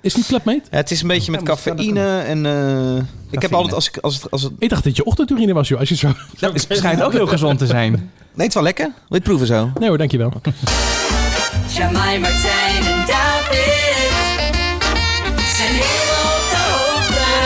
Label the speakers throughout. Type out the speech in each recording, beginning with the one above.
Speaker 1: Is niet klapmeet?
Speaker 2: Het is een beetje met
Speaker 3: Ja, maar dat
Speaker 2: cafeïne en... eh, ik heb
Speaker 3: Cafeïne.
Speaker 2: altijd als ik... Als het, als het,
Speaker 1: Ik dacht dat je ochtendurine was, joh. Als je zo...
Speaker 3: Dat is- schijnt ook heel gezond te zijn.
Speaker 2: nee, het is wel lekker. Wil je het proeven zo?
Speaker 1: Nee hoor, dankjewel.
Speaker 4: Jamai, Martijn en David zijn heel op de hoogte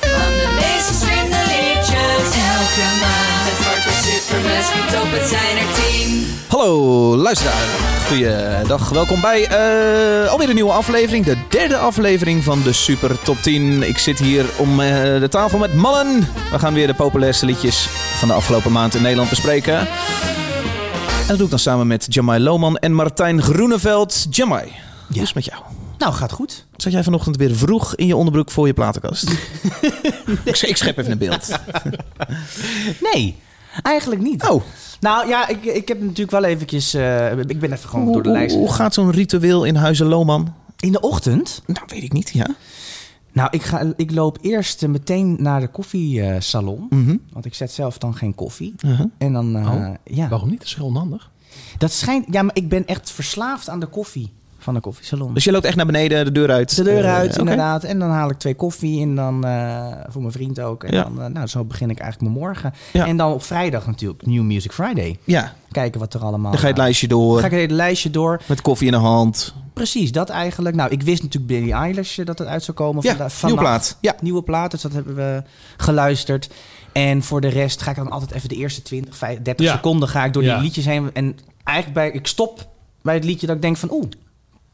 Speaker 4: van de meest gestreamde liedjes elke maand. Het wordt weer supermes, wie top, het zijn er tien.
Speaker 2: Hallo, luisteraar. Goeiedag, welkom bij eh, alweer een nieuwe aflevering. De derde aflevering van de Super Top 10. Ik zit hier om eh, de tafel met mannen. We gaan weer de populairste liedjes van de afgelopen maand in Nederland bespreken. En dat doe ik dan samen met Jamai Lohman en Martijn Groeneveld. Jamai, hoe is het met jou?
Speaker 3: Nou, gaat goed.
Speaker 2: Zat jij vanochtend weer vroeg in je onderbroek voor je platenkast? ik, sch- ik schep even een beeld.
Speaker 3: Nee, eigenlijk niet.
Speaker 2: Oh,
Speaker 3: Nou ja, ik, ik heb natuurlijk wel eventjes... eh, ik ben even gewoon door
Speaker 2: hoe,
Speaker 3: de lijst.
Speaker 2: hoe gaat zo'n ritueel in Huizen Lohman?
Speaker 3: In de ochtend?
Speaker 2: Nou, weet ik niet, ja.
Speaker 3: Nou, ik, ga, ik loop eerst eh, meteen naar de koffiesalon.
Speaker 2: Mhm.
Speaker 3: want ik zet zelf dan geen koffie.
Speaker 2: Uh-huh.
Speaker 3: En dan... eh,
Speaker 1: Oh.
Speaker 3: ja.
Speaker 1: Waarom niet? Dat is heel onhandig.
Speaker 3: Dat schijnt... Ja, maar ik ben echt verslaafd aan de koffie van de koffiesalon.
Speaker 2: Dus je loopt echt naar beneden, de deur uit.
Speaker 3: de deur uit,
Speaker 2: Eh, oké.
Speaker 3: inderdaad. En dan haal ik twee koffie en dan eh, voor mijn vriend ook. En
Speaker 2: Ja.
Speaker 3: dan, eh, nou, zo begin ik eigenlijk mijn morgen.
Speaker 2: Ja.
Speaker 3: En dan op vrijdag natuurlijk, New Music Friday.
Speaker 2: Ja,
Speaker 3: Kijken wat er allemaal...
Speaker 2: dan ga je het
Speaker 3: eh,
Speaker 2: lijstje door.
Speaker 3: ga ik het hele lijstje door.
Speaker 2: Met koffie in de hand.
Speaker 3: Precies, dat eigenlijk. Nou, ik wist natuurlijk Billie Eilish eh, dat het uit zou komen.
Speaker 2: Ja,
Speaker 3: vandaag-
Speaker 2: nieuwe plaat.
Speaker 3: vannacht.
Speaker 2: Ja.
Speaker 3: Nieuwe plaat, dus dat hebben we geluisterd. En voor de rest ga ik dan altijd even de eerste 20, 50, 30
Speaker 1: Ja.
Speaker 3: seconden ga ik door
Speaker 1: Ja.
Speaker 3: die liedjes heen. En eigenlijk bij, ik stop bij het liedje dat ik denk van oeh,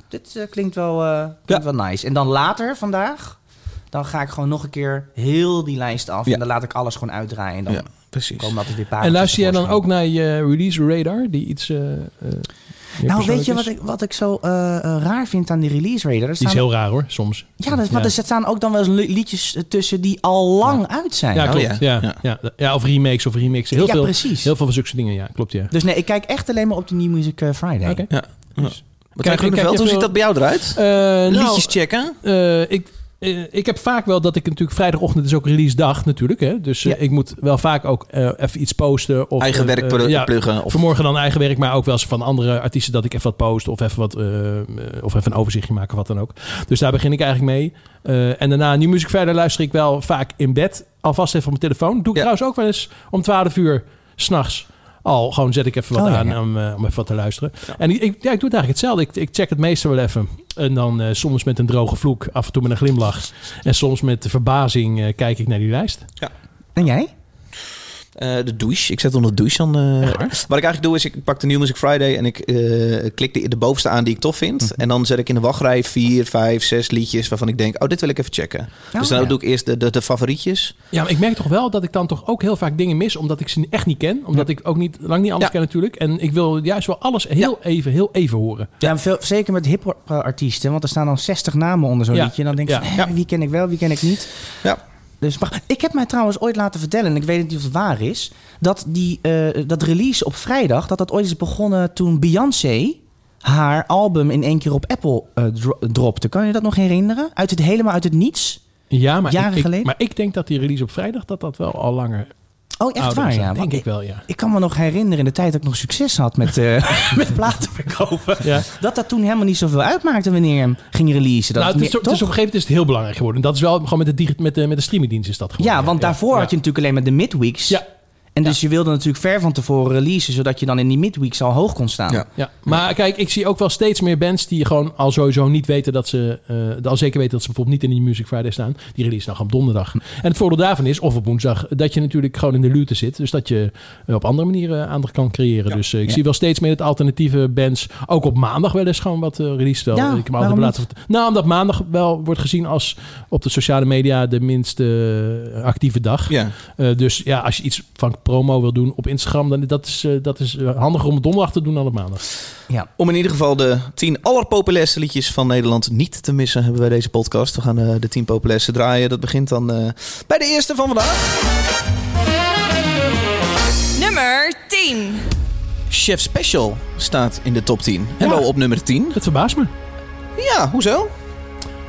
Speaker 3: dit eh, klinkt, wel, eh, klinkt wel nice. En dan later vandaag, dan ga ik gewoon nog een keer heel die lijst af.
Speaker 2: Ja.
Speaker 3: En dan laat ik alles gewoon uitdraaien. En dan
Speaker 2: Ja, precies.
Speaker 3: komen altijd weer paarden.
Speaker 1: En luister jij dan ook naar je eh, release radar, die iets... eh, eh, meer
Speaker 3: Nou, weet
Speaker 1: persoonlijk
Speaker 3: je
Speaker 1: is?
Speaker 3: wat ik, wat ik zo eh, eh, raar vind aan die release radar?
Speaker 1: Die
Speaker 3: Er
Speaker 1: is
Speaker 3: staan-
Speaker 1: heel raar hoor, soms.
Speaker 3: Ja, dat, maar er staan ook dan wel eens li- liedjes eh, tussen die al lang uit zijn.
Speaker 1: Ja,
Speaker 2: Oh,
Speaker 1: klopt.
Speaker 2: ja.
Speaker 1: Ja. Ja.
Speaker 2: Ja.
Speaker 1: Ja. of remakes of remixen. Heel,
Speaker 3: Ja,
Speaker 1: veel,
Speaker 3: precies.
Speaker 1: heel veel van zulke dingen, ja. Klopt, ja.
Speaker 3: Dus nee, ik kijk echt alleen maar op de New Music eh, Friday.
Speaker 1: Oké.
Speaker 2: Ja.
Speaker 1: Dus-
Speaker 2: Martijn
Speaker 1: Kijk, kijk,
Speaker 2: Groeneveld, hoe
Speaker 1: even-
Speaker 2: ziet dat bij jou eruit?
Speaker 1: Eh, nou,
Speaker 2: Liedjes checken.
Speaker 1: eh, ik, eh, ik heb vaak wel dat ik natuurlijk vrijdagochtend is ook release dag natuurlijk. Hè? Dus eh,
Speaker 3: Ja.
Speaker 1: ik moet wel vaak ook eh, even iets posten. Of,
Speaker 2: Eigen
Speaker 1: eh,
Speaker 2: werk
Speaker 1: eh,
Speaker 2: plu-
Speaker 1: ja,
Speaker 2: pluggen. Of,
Speaker 1: Vanmorgen dan eigen werk, maar ook wel eens van andere artiesten dat ik even wat post. Of even, wat, eh, eh, of even een overzichtje maken, of wat dan ook. Dus daar begin ik eigenlijk mee. Eh, en daarna, nu muziek verder, luister ik wel vaak in bed. Alvast even op mijn telefoon. Doe ik
Speaker 2: Ja.
Speaker 1: trouwens ook wel eens om 12 uur s'nachts. Al, gewoon zet ik even wat
Speaker 3: Oh, ja,
Speaker 1: aan
Speaker 3: ja.
Speaker 1: Om, eh, om even wat te luisteren. En ik, ik- ja, ik doe het eigenlijk hetzelfde. Ik, ik check het meestal wel even. En dan eh, soms met een droge vloek, af en toe met een glimlach. En soms met verbazing eh, kijk ik naar die lijst.
Speaker 3: En jij?
Speaker 2: eh, de douche. Ik zet onder de douche dan. eh,
Speaker 1: Echt waar?
Speaker 2: wat ik eigenlijk doe is, ik pak de New Music Friday en ik eh, klik de, de bovenste aan die ik tof vind.
Speaker 1: Mhm.
Speaker 2: En dan zet ik in de wachtrij vier, vijf, zes liedjes waarvan ik denk, oh, dit wil ik even checken.
Speaker 1: Oh,
Speaker 2: dus dan
Speaker 3: ja.
Speaker 2: doe ik eerst de, de, de favorietjes.
Speaker 1: Ja, maar ik merk toch wel dat ik dan toch ook heel vaak dingen mis, omdat ik ze echt niet ken. Omdat ik ook niet, lang niet alles
Speaker 2: Ja.
Speaker 1: ken natuurlijk. En ik wil juist wel alles heel even, heel even horen.
Speaker 3: Ja, maar veel, zeker met hip-hop eh, artiesten, want er staan dan 60 namen onder zo'n
Speaker 1: Ja.
Speaker 3: liedje. En dan denk je,
Speaker 1: Ja.
Speaker 3: van, hè, wie ken ik wel, wie ken ik niet.
Speaker 2: Ja.
Speaker 3: Dus, maar ik heb mij trouwens ooit laten vertellen, en ik weet niet of het waar is, dat die, eh, dat release op vrijdag, dat dat ooit is begonnen toen Beyoncé haar album in één keer op Apple eh, dro- dropte. Kan je dat nog herinneren? Uit het, helemaal uit het niets?
Speaker 1: Ja, maar,
Speaker 3: Jaren
Speaker 1: ik, ik-
Speaker 3: geleden?
Speaker 1: maar ik denk dat die release op vrijdag, dat dat wel al langer
Speaker 3: Oh, echt
Speaker 1: ouder
Speaker 3: waar,
Speaker 1: is.
Speaker 3: ja.
Speaker 1: denk
Speaker 3: Want
Speaker 1: ik wel, ja.
Speaker 3: Ik kan me nog herinneren in de tijd dat ik nog succes had met, eh, met platen verkopen.
Speaker 1: ja.
Speaker 3: Dat dat toen helemaal niet zoveel uitmaakte wanneer je hem ging releasen. Dat
Speaker 1: Nou, het is,
Speaker 3: meer-
Speaker 1: op- het is op een gegeven moment is het heel belangrijk geworden. En dat is wel gewoon met de, digi- met de, met de streamingdienst is dat geworden.
Speaker 3: ja, want daarvoor
Speaker 1: ja.
Speaker 3: had je natuurlijk alleen maar de midweeks.
Speaker 1: Ja,
Speaker 3: En dus je wilde natuurlijk ver van tevoren releasen, zodat je dan in die midweeks al hoog kon
Speaker 1: Ah.
Speaker 3: staan.
Speaker 2: Ja.
Speaker 1: ja. Maar kijk, ik zie ook wel steeds meer bands die gewoon al sowieso niet weten dat ze... eh, al zeker weten dat ze bijvoorbeeld niet in die Music Friday staan. Die release nog op donderdag. En het voordeel daarvan is, of op woensdag, dat je natuurlijk gewoon in de lute zit. Dus dat je eh, op andere manieren eh, aandacht kan creëren. Dus eh, ik zie wel steeds meer dat alternatieve bands ook op maandag wel eens gewoon wat eh, release stellen.
Speaker 3: Ja,
Speaker 1: ik heb me
Speaker 3: waarom
Speaker 1: altijd laten vert- Nou, omdat maandag wel wordt gezien als op de sociale media de minst eh, actieve dag.
Speaker 2: ja.
Speaker 1: Eh, dus ja, als je iets van promo wil doen op Instagram, dan dat is, eh, dat is eh, handiger om het donderdag te doen dan op maandag.
Speaker 2: Om in ieder geval de tien allerpopulairste liedjes van Nederland niet te missen, hebben wij deze podcast. We gaan eh, de tien populairste draaien. Dat begint dan eh, bij de eerste van vandaag.
Speaker 4: Nummer 10.
Speaker 2: Chef Special staat in de top 10. En wel op nummer 10.
Speaker 1: Het verbaast me.
Speaker 2: Ja, hoezo?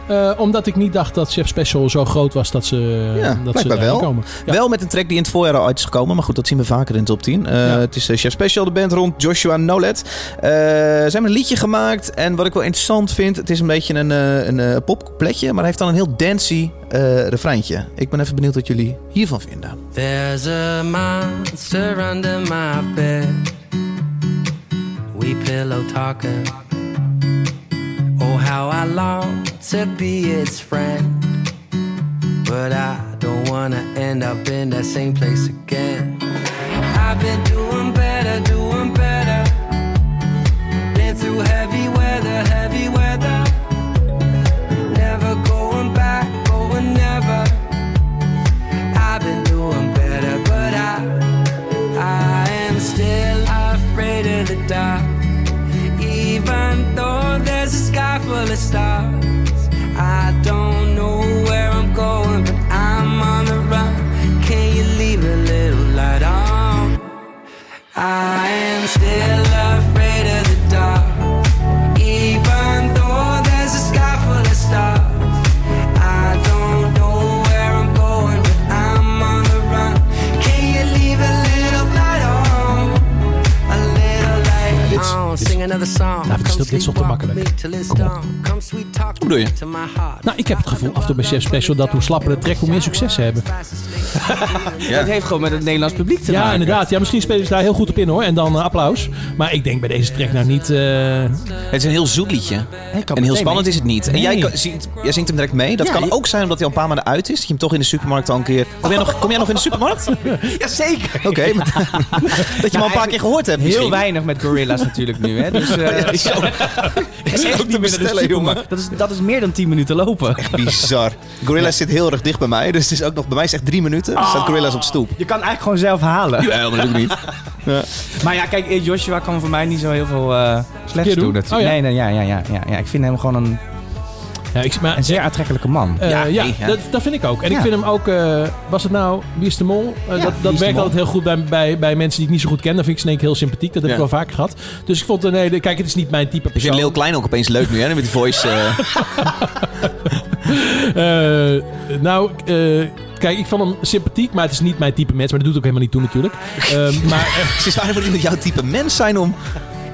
Speaker 1: Eh, omdat ik niet dacht dat Chef Special zo groot was dat ze,
Speaker 2: Ja,
Speaker 1: dat ze
Speaker 2: blijkbaar wel.
Speaker 1: komen. Ja.
Speaker 2: Wel met een track die in het voorjaar al uit is gekomen. Maar goed, dat zien we vaker in de top 10. Eh, Het is eh, Chef Special, de band rond Joshua Nolet. Eh, ze hebben een liedje gemaakt. En wat ik wel interessant vind, het is een beetje een, eh, een eh, poppletje. Maar hij heeft dan een heel dancy eh refreintje. Ik ben even benieuwd wat jullie hiervan vinden.
Speaker 5: There's a monster under my bed. We pillow talking. Oh, how I long to be its friend. But I don't wanna end up in that same place again. I've been doing better, doing better. Been through heavy weather, heavy weather. Never going back, going never. I've been doing better, but I, I am still afraid of the dark. Even though there's a sky full of stars, I don't know where I'm going, but I'm on the run. Can you leave a little light on? I am still afraid of the dark. Even though there's a sky full of stars. I don't know where I'm going, but I'm on the run. Can you leave a little light on? A little light on. Sing another song.
Speaker 1: Nou, dit is-
Speaker 5: Come
Speaker 1: dit is toch te
Speaker 5: sleepwalk
Speaker 1: makkelijk?
Speaker 5: me till it's
Speaker 1: Kom op.
Speaker 5: dawn. Come sweet talk
Speaker 2: bedoel je?
Speaker 5: to my heart.
Speaker 1: Nou, ik heb het gevoel af en toe bij Chef Special dat hoe slapper de track, hoe meer succes ze hebben.
Speaker 2: Ja.
Speaker 3: Het heeft gewoon met het Nederlands publiek te
Speaker 1: Ja,
Speaker 3: maken.
Speaker 1: inderdaad. Ja, misschien spelen ze daar heel goed op in hoor. En dan eh, applaus. Maar ik denk bij deze track nou niet... eh,
Speaker 2: Het is een heel zoet liedje. En heel spannend is het niet. En jij, kan- zingt, jij zingt hem direct mee. Dat
Speaker 3: Ja,
Speaker 2: kan
Speaker 3: je-
Speaker 2: ook zijn omdat hij al een paar maanden uit is. Dat je hem toch in de supermarkt al een keer... Kom jij nog, kom jij nog in de supermarkt? Oké.
Speaker 3: Ja, zeker.
Speaker 2: maar- dat je hem al een paar keer gehoord hebt
Speaker 3: Heel
Speaker 2: misschien.
Speaker 3: weinig met gorilla's natuurlijk nu, hè? Dus, eh,
Speaker 2: Ja, zo.
Speaker 3: is
Speaker 2: ook
Speaker 3: echt
Speaker 2: te
Speaker 3: niet meer naar de
Speaker 2: bestellen,
Speaker 3: supermarkt.
Speaker 2: jongen.
Speaker 3: Dat is, dat is meer dan 10 minuten lopen.
Speaker 2: Bizar. Gorilla zit heel erg dicht bij mij. Dus het is ook nog bij mij is echt drie minuten. Dan staat Gorilla's op stoep.
Speaker 3: Je kan eigenlijk gewoon zelf halen.
Speaker 2: Ja, maar dat doe ik niet.
Speaker 3: Maar ja, kijk, eh, Joshua kan voor mij niet zo heel veel eh slechts
Speaker 1: Keer doen?
Speaker 3: doen.
Speaker 1: Oh,
Speaker 3: natuurlijk.
Speaker 1: ja.
Speaker 3: Nee, nee, ja, ja, ja, ja, ja. Ik vind hem gewoon een,
Speaker 1: ja, ik, maar,
Speaker 3: een zeer aantrekkelijke man.
Speaker 1: eh, ja,
Speaker 2: nee, ja.
Speaker 1: Dat, dat vind ik ook. En ik
Speaker 3: Ja.
Speaker 1: vind hem ook... eh, was het nou Wie is de Mol? Eh,
Speaker 3: Ja,
Speaker 1: dat
Speaker 3: Wie
Speaker 1: dat
Speaker 3: is de
Speaker 1: werkt
Speaker 3: Mol?
Speaker 1: altijd heel goed bij, bij, bij mensen die ik niet zo goed ken. Dan vind ik Snake heel sympathiek. Dat heb
Speaker 2: Ja.
Speaker 1: ik wel vaak gehad. Dus ik vond... een hele kijk, het is niet mijn type
Speaker 2: Ik vind
Speaker 1: persoon.
Speaker 2: Leel Klein ook opeens leuk nu, hè? Met die voice. eh.
Speaker 1: Eh, nou, eh, kijk, ik vond hem sympathiek, maar het is niet mijn type mens. Maar dat doet ook helemaal niet toe natuurlijk. Eh, maar, eh,
Speaker 2: Het is waar dat iemand jouw type mens zijn om...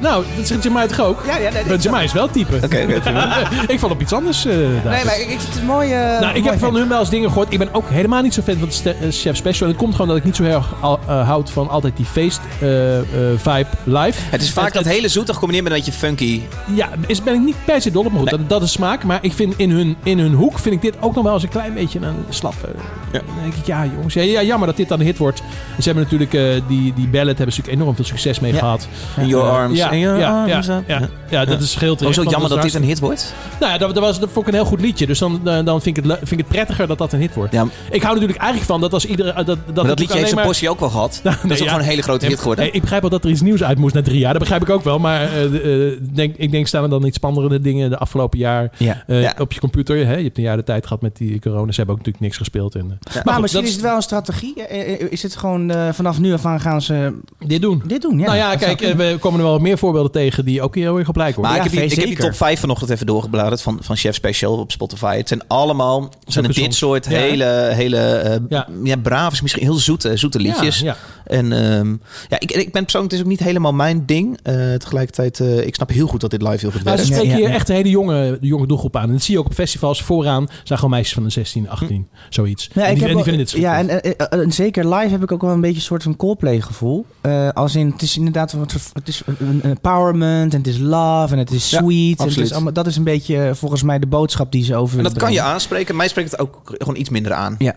Speaker 1: nou, dat zegt Jamai toch ook?
Speaker 3: ja, nee,
Speaker 1: Maar Jamai is wel type.
Speaker 2: Oké, oké, prima.
Speaker 1: ik vond op iets anders. eh, David.
Speaker 3: Nee, maar ik, ik- het eh, is een mooie...
Speaker 1: nou, ik heb van hun wel eens dingen gehoord. Ik ben ook helemaal niet zo fan van de ste- eh, Chef Special. En het komt gewoon dat ik niet zo heel erg al- eh, houd van altijd die feest-vibe live.
Speaker 2: Het is vaak dat hele zoete gecombineerd met een beetje funky.
Speaker 1: Ja, is, ben ik niet per se dol op. Maar goed, dat, dat is smaak. Maar ik vind in hun, in hun hoek vind ik dit ook nog wel eens een klein beetje een slap. eh, Dan denk ik, ja jongens. Ja, ja, jammer dat dit dan een hit wordt. En ze hebben natuurlijk eh, die, die ballet hebben ze natuurlijk enorm veel succes mee
Speaker 2: Ja.
Speaker 1: gehad.
Speaker 2: In your
Speaker 1: Eh,
Speaker 2: arms.
Speaker 1: Ja,
Speaker 2: In your
Speaker 1: ja,
Speaker 2: arms.
Speaker 1: ja, ja, ja, dat is scheelt
Speaker 2: Ook
Speaker 1: echt,
Speaker 2: zo
Speaker 1: want
Speaker 2: jammer dat
Speaker 1: is
Speaker 2: dit een hit wordt.
Speaker 1: Nou ja, dat, dat was, dat vond ik een heel goed liedje. Dus dan, eh, dan vind, ik het, le- vind ik het prettiger dat dat een hit wordt.
Speaker 2: Ja, maar
Speaker 1: Ik hou natuurlijk eigenlijk van dat als iedere... eh, Dat, dat,
Speaker 2: dat,
Speaker 1: natuurlijk
Speaker 2: liedje heeft
Speaker 1: alleen
Speaker 2: zijn
Speaker 1: maar-
Speaker 2: portie ook wel gehad. dat
Speaker 1: nee,
Speaker 2: is ook
Speaker 1: ja.
Speaker 2: gewoon een hele grote hit geworden.
Speaker 1: Hey, ik begrijp wel dat er iets nieuws uit moest na drie jaar. Dat begrijp ik ook wel. Maar eh, eh, denk, ik denk, staan er dan iets spannendere dingen de afgelopen jaar
Speaker 3: Ja.
Speaker 1: eh,
Speaker 2: Ja.
Speaker 1: op je computer? Hè? Je hebt een jaar de tijd gehad met die corona. Ze hebben ook natuurlijk niks gespeeld. En, eh,
Speaker 3: Maar,
Speaker 2: Nou,
Speaker 1: goed,
Speaker 3: misschien
Speaker 1: dat
Speaker 3: is het wel een strategie. Eh, eh, Is het gewoon eh, vanaf nu af aan gaan ze
Speaker 1: dit doen.
Speaker 3: dit doen? Ja,
Speaker 1: nou ja,
Speaker 3: Dat zou
Speaker 1: kijk, eh,
Speaker 3: kunnen.
Speaker 1: we komen er wel meer voorbeelden tegen die ook heel erg op lijken. hoor.
Speaker 2: Maar
Speaker 3: Ja,
Speaker 2: ik, heb die, ik
Speaker 3: zeker.
Speaker 2: heb die top 5 vanochtend even doorgebladerd van, van Chef Special op Spotify. Het zijn allemaal zijn
Speaker 1: Zulke
Speaker 2: dit
Speaker 1: songs.
Speaker 2: soort
Speaker 1: Ja.
Speaker 2: hele, hele eh,
Speaker 1: Ja.
Speaker 2: ja. brave, misschien heel zoete, zoete liedjes.
Speaker 1: Ja, ja.
Speaker 2: En ehm, ja, ik, ik ben persoonlijk, het is ook niet helemaal mijn ding. Eh, tegelijkertijd, eh, ik snap heel goed dat dit live heel goed
Speaker 1: Maar
Speaker 2: werkt.
Speaker 1: Nou, ze
Speaker 3: Ja,
Speaker 1: spreken
Speaker 3: ja,
Speaker 1: hier
Speaker 3: ja.
Speaker 1: echt een hele jonge, jonge doelgroep aan. En dat zie je ook op festivals. Vooraan zijn gewoon meisjes van de 16, 18, zoiets. en
Speaker 3: Ja, ik
Speaker 1: die,
Speaker 3: heb
Speaker 1: en die
Speaker 3: wel-
Speaker 1: vinden dit schitterend.
Speaker 3: Ja, en, eh, eh, en zeker live heb ik ook wel een beetje een soort van Coldplay gevoel. Eh, als in, het is inderdaad een soort- het is een empowerment en het is love en het is
Speaker 2: Ja,
Speaker 3: sweet. en het
Speaker 2: absoluut.
Speaker 3: is allemaal, dat is een beetje eh, volgens mij de boodschap die ze over
Speaker 2: En dat
Speaker 3: willen
Speaker 2: kan je
Speaker 3: brengen.
Speaker 2: aanspreken. Mij spreekt het ook gewoon iets minder aan.
Speaker 3: Ja.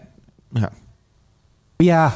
Speaker 2: Ja.
Speaker 3: Ja.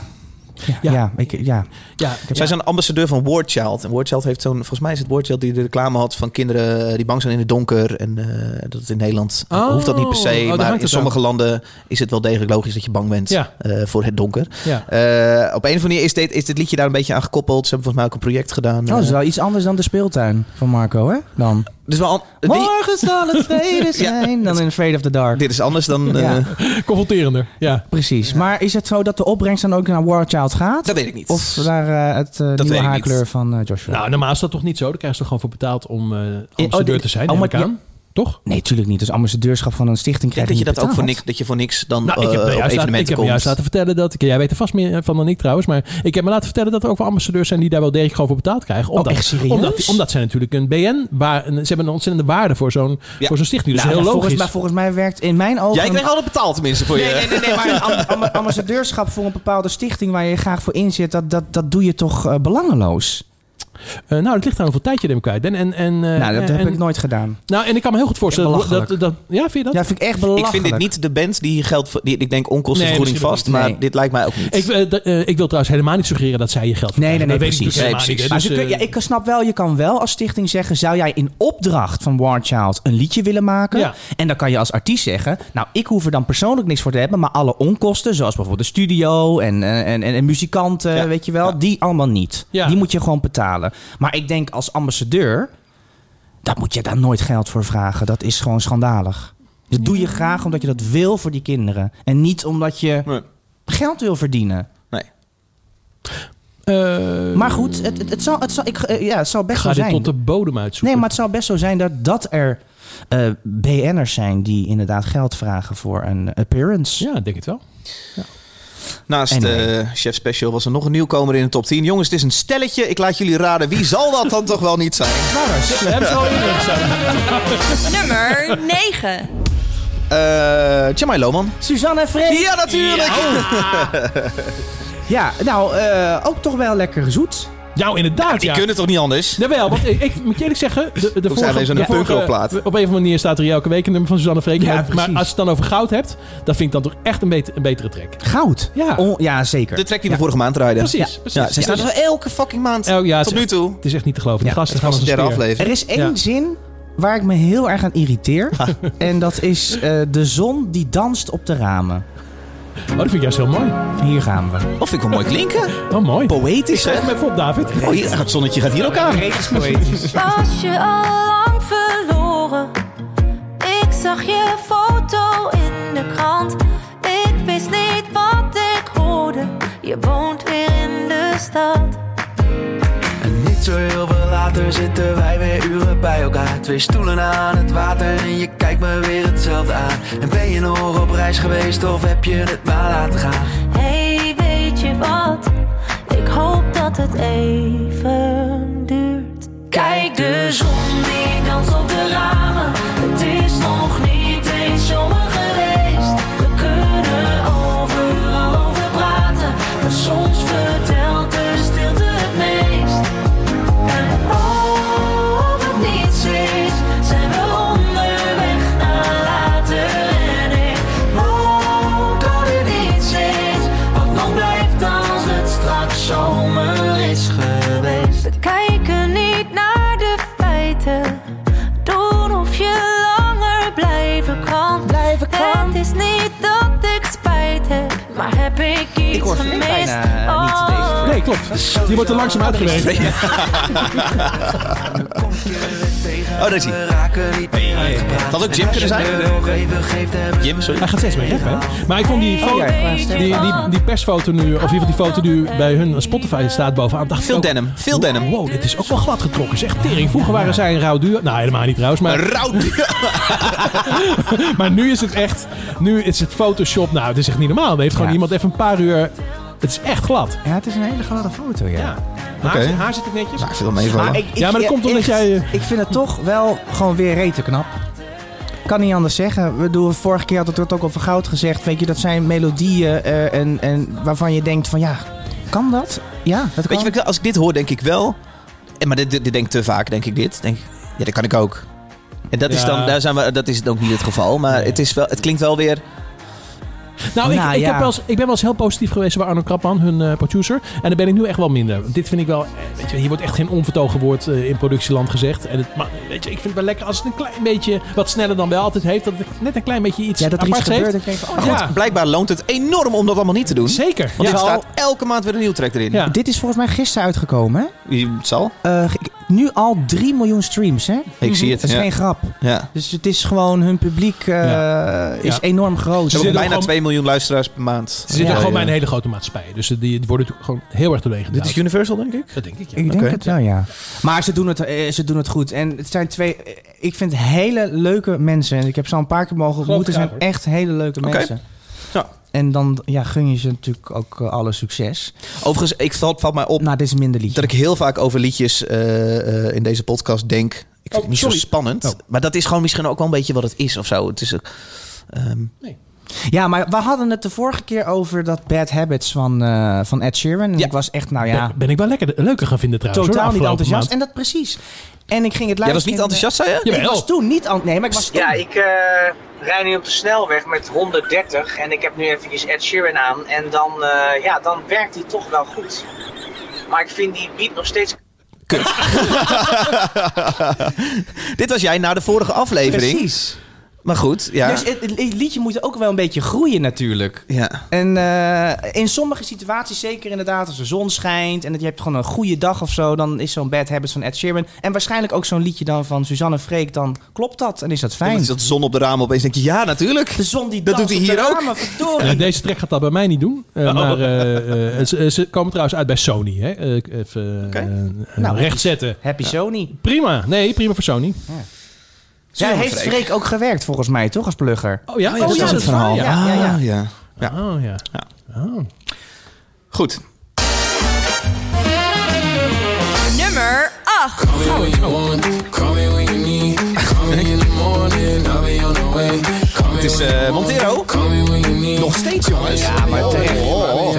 Speaker 3: Ja,
Speaker 1: Ja.
Speaker 3: ja. ik, ja.
Speaker 1: Ja,
Speaker 2: Zij zijn ambassadeur van War Child. En War Child heeft zo'n... Volgens mij is het War Child die de reclame had van kinderen die bang zijn in het donker. En eh, dat het in Nederland
Speaker 1: Oh,
Speaker 2: hoeft dat niet per se.
Speaker 1: oh, daar hangt
Speaker 2: maar in
Speaker 1: het
Speaker 2: sommige landen is het wel degelijk logisch dat je bang bent
Speaker 1: Ja.
Speaker 2: eh, voor het donker.
Speaker 1: ja.
Speaker 2: Eh, op een of andere manier is dit, is dit liedje daar een beetje aan gekoppeld. Ze hebben volgens mij ook een project gedaan.
Speaker 3: Oh, dat is
Speaker 2: Eh,
Speaker 3: wel iets anders dan de speeltuin van Marco, hè? Dan.
Speaker 2: dus wel an- die-
Speaker 3: Morgen zal het vrede zijn dan in Afraid of the Dark.
Speaker 2: dit is anders dan... eh,
Speaker 3: Ja.
Speaker 1: Confronterender. Ja.
Speaker 3: Precies. Maar is het zo dat de opbrengst dan ook naar War Child gaat?
Speaker 2: Dat weet ik niet.
Speaker 3: Of naar eh, het eh,
Speaker 2: weet
Speaker 3: nieuwe
Speaker 2: ik niet.
Speaker 3: haarkleur van eh, Joshua?
Speaker 1: Nou, normaal is dat toch niet zo. Daar krijgen ze toch gewoon voor betaald om eh ambassadeur
Speaker 3: dit-
Speaker 1: te zijn.
Speaker 3: oh,
Speaker 1: neem
Speaker 3: maar
Speaker 1: ik aan. Toch?
Speaker 3: Nee, natuurlijk niet. Dus ambassadeurschap van een stichting
Speaker 2: Ik denk
Speaker 3: krijg
Speaker 2: dat je dat ook voor
Speaker 3: niet
Speaker 2: niks, dat je voor niks dan
Speaker 1: Nou, ik
Speaker 2: eh,
Speaker 1: heb me
Speaker 2: op
Speaker 1: juist, laten, ik heb
Speaker 2: evenementen
Speaker 1: me
Speaker 2: komt.
Speaker 1: juist laten vertellen dat... Jij weet er vast meer van dan ik trouwens. Maar ik heb me laten vertellen dat er ook wel ambassadeurs zijn... die daar wel degelijk gewoon voor betaald krijgen. Omdat,
Speaker 3: Oh, echt serieus?
Speaker 1: Omdat, omdat zij natuurlijk een BN... Waar, ze hebben een ontzettende waarde voor zo'n
Speaker 2: Ja.
Speaker 1: voor zo'n stichting. Dus
Speaker 3: Nou,
Speaker 1: heel
Speaker 3: ja,
Speaker 1: logisch.
Speaker 3: Volgens, maar volgens mij werkt in mijn ogen...
Speaker 2: Jij krijgt altijd betaald tenminste voor
Speaker 3: Nee,
Speaker 2: je...
Speaker 3: nee, nee, nee, maar een am- am- ambassadeurschap voor een bepaalde stichting waar je graag voor inzet, dat, dat, dat doe je toch eh, belangeloos?
Speaker 1: Eh, nou, dat ligt aan hoeveel tijd je ermee kwijt bent. En, en, eh,
Speaker 3: nou, dat
Speaker 1: en,
Speaker 3: heb ik nooit gedaan.
Speaker 1: Nou, en ik kan me heel goed voorstellen...
Speaker 3: Ja,
Speaker 1: dat, dat,
Speaker 3: belachelijk.
Speaker 1: dat, ja, vind je dat?
Speaker 3: Ja, vind ik echt
Speaker 2: Ik
Speaker 3: belachelijk.
Speaker 2: vind dit niet de band die geld... ver- Die, ik denk onkostenvergoeding
Speaker 1: Nee,
Speaker 2: vast,
Speaker 1: misschien
Speaker 2: maar
Speaker 3: ook niet.
Speaker 2: dit lijkt mij ook niet.
Speaker 1: Ik, eh, d- eh, ik wil trouwens helemaal niet suggereren dat zij je geld
Speaker 3: Nee, nee, nee,
Speaker 1: verdienen. Dat weet ik
Speaker 3: precies.
Speaker 1: natuurlijk
Speaker 2: Nee,
Speaker 1: helemaal
Speaker 2: precies.
Speaker 1: niet,
Speaker 3: Maar
Speaker 1: hè.
Speaker 3: ze kun-
Speaker 1: Dus,
Speaker 3: ja,
Speaker 1: eh,
Speaker 3: ik snap wel, je kan wel als stichting zeggen... zou jij in opdracht van War Child een liedje willen maken?
Speaker 1: Ja.
Speaker 3: En dan kan je als artiest zeggen... nou, ik hoef er dan persoonlijk niks voor te hebben... maar alle onkosten, zoals bijvoorbeeld de studio en, eh, en, en, en muzikanten,
Speaker 2: Ja.
Speaker 3: weet je wel... die allemaal niet.
Speaker 1: Ja.
Speaker 3: Die moet je gewoon betalen. Maar ik denk als ambassadeur... daar moet je daar nooit geld voor vragen. Dat is gewoon schandalig. Dat doe je graag omdat je dat wil voor die kinderen. En niet omdat je
Speaker 2: Nee.
Speaker 3: geld wil verdienen.
Speaker 2: Nee.
Speaker 1: eh,
Speaker 3: Maar goed, het, het, het zal, het zal, ik, eh, ja, het zal best
Speaker 1: ga
Speaker 3: wel
Speaker 1: dit
Speaker 3: zijn.
Speaker 1: tot de bodem uitzoeken.
Speaker 3: Nee, maar het zou best zo zijn dat, dat er eh, BN'ers zijn die inderdaad geld vragen voor een appearance.
Speaker 1: Ja, ik denk het wel.
Speaker 2: Naast
Speaker 3: Anyway.
Speaker 2: eh, Chef Special was er nog een nieuwkomer in de top 10. Jongens, het is een stelletje. Ik laat jullie raden. Wie zal dat dan toch wel niet zijn?
Speaker 1: We hebben ze al ingezet.
Speaker 6: Nummer 9.
Speaker 2: Eh Jamai Loman.
Speaker 3: Suzanne en Freek. Ja,
Speaker 2: Ja, natuurlijk!
Speaker 1: Oh,
Speaker 3: nou, eh, ook toch wel lekker zoet.
Speaker 1: Nou, inderdaad,
Speaker 2: Die
Speaker 1: ja.
Speaker 2: kunnen toch niet anders?
Speaker 1: Jawel, want ik, ik moet je eerlijk zeggen... De, de
Speaker 2: zijn wij
Speaker 1: vorige,
Speaker 2: zo'n
Speaker 1: de vorige-
Speaker 2: punkrockplaat?
Speaker 1: Op een of andere manier staat er hier elke week een nummer van Suzanne Freek.
Speaker 3: Ja,
Speaker 1: maar,
Speaker 3: precies.
Speaker 1: maar als je het dan over goud hebt... dat vind ik dan toch echt een, bet- een betere track.
Speaker 3: Goud.
Speaker 1: Ja.
Speaker 3: On- ja, zeker.
Speaker 2: De track die we vorige maand draaiden.
Speaker 1: Precies,
Speaker 2: Ja,
Speaker 1: precies.
Speaker 2: Ja, ze staan
Speaker 1: Ja.
Speaker 2: er elke fucking maand
Speaker 1: Oh, ja,
Speaker 2: tot
Speaker 1: het
Speaker 2: nu
Speaker 1: is-
Speaker 2: toe.
Speaker 1: Het is echt niet te geloven. De
Speaker 3: Ja,
Speaker 1: gasten
Speaker 2: Dat
Speaker 1: gaan
Speaker 2: was
Speaker 1: als
Speaker 2: de
Speaker 1: een
Speaker 2: derde
Speaker 1: speer.
Speaker 2: aflevering.
Speaker 3: er is één
Speaker 1: Ja.
Speaker 3: zin waar ik me heel erg aan irriteer. en dat is eh, de zon die danst op de ramen.
Speaker 1: Oh, dat vind ik juist heel mooi.
Speaker 3: Hier gaan we.
Speaker 2: Of ik wel mooi klinken.
Speaker 1: Oh, mooi.
Speaker 2: Poëtisch, hè?
Speaker 1: Schrijf hem even op, David.
Speaker 2: Oh, hier, het zonnetje gaat hier ook aan.
Speaker 4: Was je al lang verloren? Ik zag je foto in de krant. Ik wist niet wat ik hoorde. Je woont weer in de stad.
Speaker 5: En niet zo heel veel later zitten wij weer uren bij elkaar. Twee stoelen aan het water en je kijkt me weer hetzelfde aan. En ben je nog op reis geweest of heb je het maar laten gaan?
Speaker 4: Hey, weet je wat? Ik hoop dat het even duurt. Kijk, de zon die danst op de ramen. Het is nog niet eens zomer geweest. We kunnen overal over praten. Maar soms vertelt de stilte het meest. En of het niets is, zijn we onderweg naar later. En ik hoop dat het niets is, wat nog blijft als het straks zomer is geweest. We kijken niet naar de feiten, doen of je langer blijven kan.
Speaker 3: Blijven kan.
Speaker 4: Het is niet dat ik spijt heb, maar heb ik iets
Speaker 3: Ik hoor Freek
Speaker 4: gemist?
Speaker 3: bijna, eh, niet deze
Speaker 4: Oh.
Speaker 1: Nee, klopt. Die wordt er langzaam uitgewerkt.
Speaker 2: Oh, daar is hij.
Speaker 5: We raken niet meer
Speaker 2: Het had ook Jim kunnen zijn. Jim, sorry.
Speaker 1: Hij gaat steeds meer weg, hè? Maar ik vond die, foto,
Speaker 3: ja, ik was-
Speaker 1: die, die, die persfoto nu, of in ieder geval die foto die bij hun Spotify staat bovenaan. Dacht ik
Speaker 2: Veel
Speaker 1: ook,
Speaker 2: denim. Veel denim.
Speaker 1: Wow, dit is ook wel glad getrokken. Zeg, tering. Vroeger waren zij een rauw duur. Nou, helemaal niet trouwens. Maar,
Speaker 2: Rauw.
Speaker 1: maar nu is het echt, nu is het Photoshop. Nou, het is echt niet normaal. Er heeft gewoon
Speaker 3: Ja.
Speaker 1: iemand even een paar uur, het is echt glad.
Speaker 3: Ja, het is een hele gladde foto,
Speaker 1: Ja. Haar,
Speaker 2: Oké.
Speaker 1: haar zit ik netjes.
Speaker 2: Ik wil hem even
Speaker 3: Maar
Speaker 2: vallen.
Speaker 3: ik, ik-
Speaker 1: Ja, maar dat komt omdat
Speaker 3: echt,
Speaker 1: jij, eh,
Speaker 3: Ik vind het toch wel gewoon weer rete knap. Kan niet anders zeggen. We doen vorige keer had het wordt ook over goud gezegd. Weet je, dat zijn melodieën eh, en, en waarvan je denkt van ja, kan dat? Ja, dat kan.
Speaker 2: Weet je, wat ik- als ik dit hoor, denk ik wel. En, maar dit, dit, dit denk ik te vaak, denk ik dit. Denk, ik, ja, dat kan ik ook. En dat, is
Speaker 1: Ja.
Speaker 2: dan, daar zijn we, dat is ook niet het geval. Maar het, is wel, het klinkt wel weer...
Speaker 1: Nou, ik,
Speaker 3: Nou,
Speaker 1: ik,
Speaker 3: ja.
Speaker 1: heb wel eens, ik ben wel eens heel positief geweest bij Arno Krapman, hun eh, producer. En daar ben ik nu echt wel minder. Dit vind ik wel... eh, Weet je, hier wordt echt geen onvertogen woord eh, in productieland gezegd. En het, maar weet je, ik vind het wel lekker als het een klein beetje wat sneller dan wel altijd heeft. Dat het net een klein beetje iets
Speaker 3: ja, dat er iets
Speaker 1: aparts
Speaker 3: gebeurt.
Speaker 1: heeft.
Speaker 3: en ik denk van, oh,
Speaker 1: Ja,
Speaker 3: goed.
Speaker 2: Blijkbaar loont het enorm om dat allemaal niet te doen.
Speaker 1: zeker.
Speaker 2: Want
Speaker 1: Ja.
Speaker 2: er staat elke maand weer een nieuw track erin.
Speaker 1: Ja.
Speaker 3: Dit is volgens mij gisteren uitgekomen. hè?
Speaker 2: Het zal.
Speaker 3: Eh, ik- nu al 3 miljoen streams, hè?
Speaker 2: Ik zie het.
Speaker 3: Dat is
Speaker 2: ja.
Speaker 3: geen grap.
Speaker 2: Ja.
Speaker 3: Dus het is gewoon, hun publiek eh,
Speaker 1: Ja.
Speaker 3: is
Speaker 1: Ja.
Speaker 3: enorm groot.
Speaker 2: Ze hebben
Speaker 1: zitten
Speaker 2: bijna
Speaker 1: gewoon-
Speaker 2: 2 miljoen luisteraars per maand.
Speaker 1: Er zit
Speaker 3: Ja,
Speaker 1: er gewoon bij een
Speaker 2: ja.
Speaker 1: hele grote maatschappij. Dus die die worden natuurlijk gewoon heel erg doorheen
Speaker 2: Dit is
Speaker 1: gedaan.
Speaker 2: Universal, denk ik?
Speaker 1: Dat denk ik, ja.
Speaker 3: Ik denk
Speaker 2: Oké.
Speaker 3: het wel, ja. Maar ze doen het, eh, ze doen het goed. En het zijn twee, eh, ik vind hele leuke mensen. En ik heb ze al een paar keer mogen
Speaker 1: Geloof
Speaker 3: ontmoeten.
Speaker 1: ik
Speaker 3: Ze zijn
Speaker 1: graag,
Speaker 3: echt hele leuke
Speaker 2: Oké.
Speaker 3: mensen.
Speaker 2: Ja.
Speaker 3: En dan ja, gun je ze natuurlijk ook eh, alle succes.
Speaker 2: Overigens, ik valt, valt mij op
Speaker 3: Nou, dit is een minder liedje.
Speaker 2: dat ik heel vaak over liedjes eh, eh, in deze podcast denk. Ik vind
Speaker 1: Oh,
Speaker 2: het niet
Speaker 1: sorry.
Speaker 2: zo spannend.
Speaker 1: Oh.
Speaker 2: Maar dat is gewoon misschien ook wel een beetje wat het is of zo. Het is, ook, ehm,
Speaker 3: Ja, maar we hadden het de vorige keer over dat Bad Habits van, eh, van Ed Sheeran. En
Speaker 2: Ja.
Speaker 3: ik was echt, nou ja,
Speaker 1: Ben, ben ik wel lekker, leuker gaan vinden trouwens. hoor,
Speaker 3: totaal
Speaker 1: de
Speaker 3: niet
Speaker 1: afgelopen
Speaker 3: enthousiast. En dat precies. En ik ging het luisteren.
Speaker 2: jij was niet
Speaker 3: en, eh,
Speaker 2: enthousiast, zei je?
Speaker 1: maand.
Speaker 3: Ik
Speaker 1: Jawel.
Speaker 3: was toen niet enthousiast. Nee, maar ik was toen.
Speaker 7: Ja, ik eh rij nu op de snelweg met 130 en ik heb nu eventjes Ed Sheeran aan en dan, eh, ja, dan werkt die toch wel goed. Maar ik vind die beat nog steeds
Speaker 2: Dit was jij na de vorige aflevering.
Speaker 3: precies.
Speaker 2: Maar goed, ja.
Speaker 3: Dus het, het liedje moet ook wel een beetje groeien natuurlijk.
Speaker 2: ja.
Speaker 3: En eh, in sommige situaties, zeker inderdaad, als de zon schijnt en dat je hebt gewoon een goede dag of zo, dan is zo'n bad habits van Ed Sheeran. En waarschijnlijk ook zo'n liedje dan van Suzanne Freek, dan klopt dat en is dat
Speaker 2: Dan
Speaker 3: fijn.
Speaker 2: is dat zon op de ramen opeens denk je, ja, natuurlijk.
Speaker 3: De zon die
Speaker 2: Dat
Speaker 3: danst
Speaker 2: doet
Speaker 3: op
Speaker 2: hij
Speaker 3: de
Speaker 2: hier ook.
Speaker 3: ramen, verdorie.
Speaker 1: Eh, deze track gaat dat bij mij niet doen. Eh, Maar eh, eh, ze, ze komen trouwens uit bij Sony. Hè? Eh, ik even eh,
Speaker 2: Oké.
Speaker 1: eh,
Speaker 3: Nou,
Speaker 1: recht zetten.
Speaker 3: Happy Sony.
Speaker 1: Prima. Nee, prima voor Sony.
Speaker 3: Zij
Speaker 2: Suzanne
Speaker 3: heeft
Speaker 2: Freek.
Speaker 3: Freek ook gewerkt volgens mij, toch, als plugger?
Speaker 1: Oh ja,
Speaker 2: Oh ja, dat is het
Speaker 1: waar,
Speaker 3: verhaal.
Speaker 1: Ja.
Speaker 3: Ja, ja, ja.
Speaker 2: Ah, ja.
Speaker 1: Oh ja.
Speaker 2: Goed.
Speaker 4: Nummer 8.
Speaker 2: Het is eh, Montero. Nog steeds, jongens. Ja, maar terecht. oh,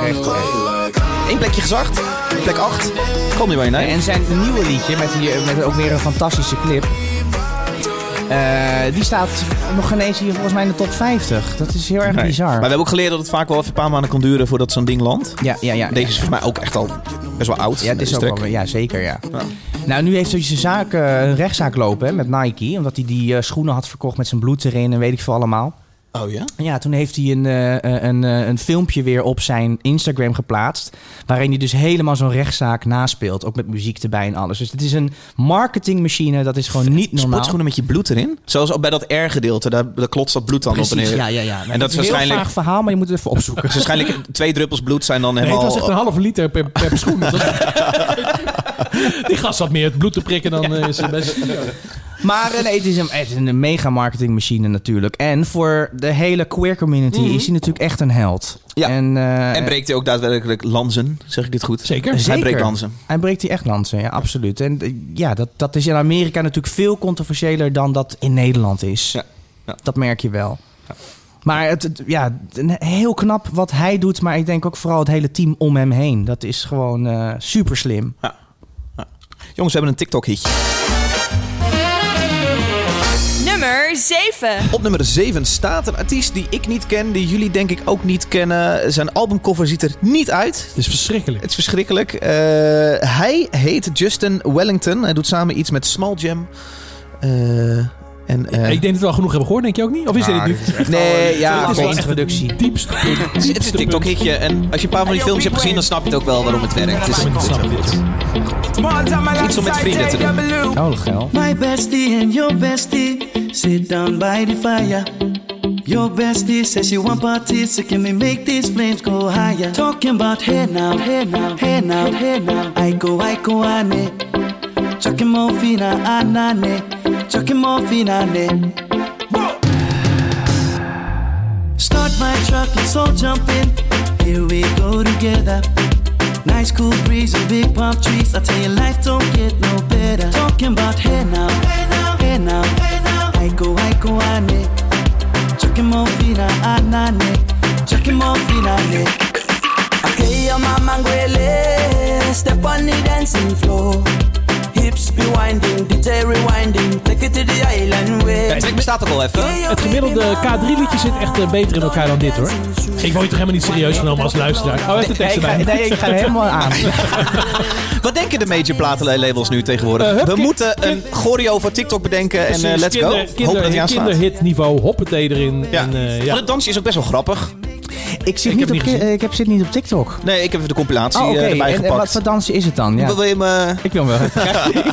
Speaker 2: Eén plekje gezakt. Plek 8. Kom niet bij je, nee.
Speaker 3: En zijn nieuwe liedje, met, die, met ook weer een fantastische clip. eh, die staat nog geen eens hier volgens mij in de top 50. Dat is heel
Speaker 2: Nee.
Speaker 3: erg
Speaker 2: Maar we
Speaker 3: bizar.
Speaker 2: hebben ook geleerd dat het vaak wel even een paar maanden kan duren voordat zo'n ding landt.
Speaker 3: Ja, ja, ja.
Speaker 2: Ah, Deze is volgens mij ook echt al best wel oud.
Speaker 3: Ja, het is
Speaker 2: deze
Speaker 3: ook
Speaker 2: track.
Speaker 3: wel, ja zeker, ja. Nou, nu heeft hij zijn zaak, eh, een rechtszaak lopen hè, met Nike. Omdat hij die eh, schoenen had verkocht met zijn bloed erin en weet ik veel allemaal.
Speaker 2: Oh ja?
Speaker 3: En Ja, toen heeft hij een, eh, eh, een, eh, een filmpje weer op zijn Instagram geplaatst. Waarin hij dus helemaal zo'n rechtszaak naspeelt. Ook met muziek erbij en alles. Dus het is een marketingmachine, dat is gewoon niet normaal.
Speaker 2: Sportschoenen met je bloed erin. Zoals al bij dat R-gedeelte, daar, daar klotst dat bloed dan op en
Speaker 3: Precies,
Speaker 2: neer.
Speaker 3: ja, ja, ja.
Speaker 2: En dat is
Speaker 3: een heel
Speaker 2: waarschijnlijk,
Speaker 3: vaag verhaal, maar je moet het even opzoeken.
Speaker 2: is waarschijnlijk twee druppels bloed zijn dan
Speaker 1: Nee, het
Speaker 2: helemaal...
Speaker 1: was echt een halve liter per, per schoen. Dat was- Die gast had meer het bloed te prikken dan eh, zijn best.
Speaker 3: Maar eh, nee, het is een, het is een mega marketingmachine natuurlijk. En voor de hele queer community is hij natuurlijk echt een held.
Speaker 2: Mhm. Ja.
Speaker 3: En, eh,
Speaker 2: en breekt hij ook daadwerkelijk lansen, zeg ik dit goed?
Speaker 1: Zeker.
Speaker 2: Hij
Speaker 3: Zeker.
Speaker 2: breekt lansen.
Speaker 3: Hij breekt die echt lansen, ja, absoluut. En eh, ja, dat, dat is in Amerika natuurlijk veel controversiëler dan dat in Nederland is.
Speaker 2: Ja, ja.
Speaker 3: Dat merk je wel. Maar het, het- ja, een- heel knap wat hij doet, maar ik denk ook vooral het hele team om hem heen. Dat is gewoon eh super slim.
Speaker 2: Jongens, we hebben een TikTok-hitje.
Speaker 4: Nummer 7.
Speaker 2: Op nummer 7 staat een artiest die ik niet ken, die jullie denk ik ook niet kennen. Zijn albumcover ziet er niet uit.
Speaker 1: Het is verschrikkelijk.
Speaker 2: Het is verschrikkelijk. Eh, hij heet Justin Wellington. Hij doet samen iets met Small Jam. Eh, en, eh,
Speaker 1: ik denk dat we al genoeg hebben gehoord, denk je ook niet? Of is dit het niet? Het
Speaker 2: nee, ja,
Speaker 1: is
Speaker 2: goed.
Speaker 1: wel echt
Speaker 3: introductie.
Speaker 1: het diepste punt.
Speaker 2: Het is- het is
Speaker 1: diepste
Speaker 2: een
Speaker 1: punt.
Speaker 2: TikTok-hitje. En als je een paar van die films hebt gezien, dan snap je het ook wel waarom het werkt. Het is, het is
Speaker 1: Snap je dit?
Speaker 2: iets om met vrienden te doen.
Speaker 3: Oh, geil.
Speaker 8: My bestie and your bestie sit down by the fire. Your bestie says she want party, so can we make these flames go higher? Talking about hey now, hey now, hey now, hey now. I go, I go, ane. Chucking ah, more fina, anane. Chucking more fina, ne. Start my truck, let's all jump in. Here we go together. Nice cool breeze and big palm trees. I tell you, life don't get no better. Talking about hey now, hey now, hey now, hey now. I go, I go, I need. Chucking more feet, I need. Chucking more feet, I need. Okay, your mama Gwele. Step on the dancing floor. Hips be winding, DJ rewinding. Take it to the island
Speaker 2: Ja,
Speaker 8: way.
Speaker 2: Het bestaat ook al even.
Speaker 8: Hey, your
Speaker 1: Het gemiddelde
Speaker 8: baby mama.
Speaker 1: K3-liedje zit echt eh, beter in elkaar dan dit, hoor. Ik word je toch helemaal niet serieus genomen als luisteraar? Oh, hij heeft de tekst
Speaker 3: ik, ga,
Speaker 1: erbij.
Speaker 3: nee, ik ga er helemaal aan.
Speaker 2: Wat denken de major platenlabels nu
Speaker 1: Eh,
Speaker 2: tegenwoordig?
Speaker 1: hup,
Speaker 2: We
Speaker 1: kind-
Speaker 2: moeten een
Speaker 1: kind-
Speaker 2: choreo voor TikTok bedenken en eh,
Speaker 1: Precies,
Speaker 2: let's go.
Speaker 1: kinder-
Speaker 2: Hoop dat hij
Speaker 1: Kinder,
Speaker 2: aanslaat.
Speaker 1: kinderhitniveau, hoppatee erin.
Speaker 2: Ja.
Speaker 1: En, eh,
Speaker 2: Maar
Speaker 1: ja.
Speaker 2: het dansje is ook best wel grappig.
Speaker 3: Ik, zit
Speaker 1: Ik
Speaker 3: niet
Speaker 1: heb
Speaker 3: op,
Speaker 1: het niet gezien.
Speaker 3: eh, ik heb, zit niet op TikTok.
Speaker 2: Nee, ik heb even de compilatie
Speaker 3: Oh, oké.
Speaker 2: eh, erbij
Speaker 3: En, en wat
Speaker 2: gepakt.
Speaker 3: voor dansje is het dan? Ja.
Speaker 2: Wat wil je me...
Speaker 3: Ik wil hem wel.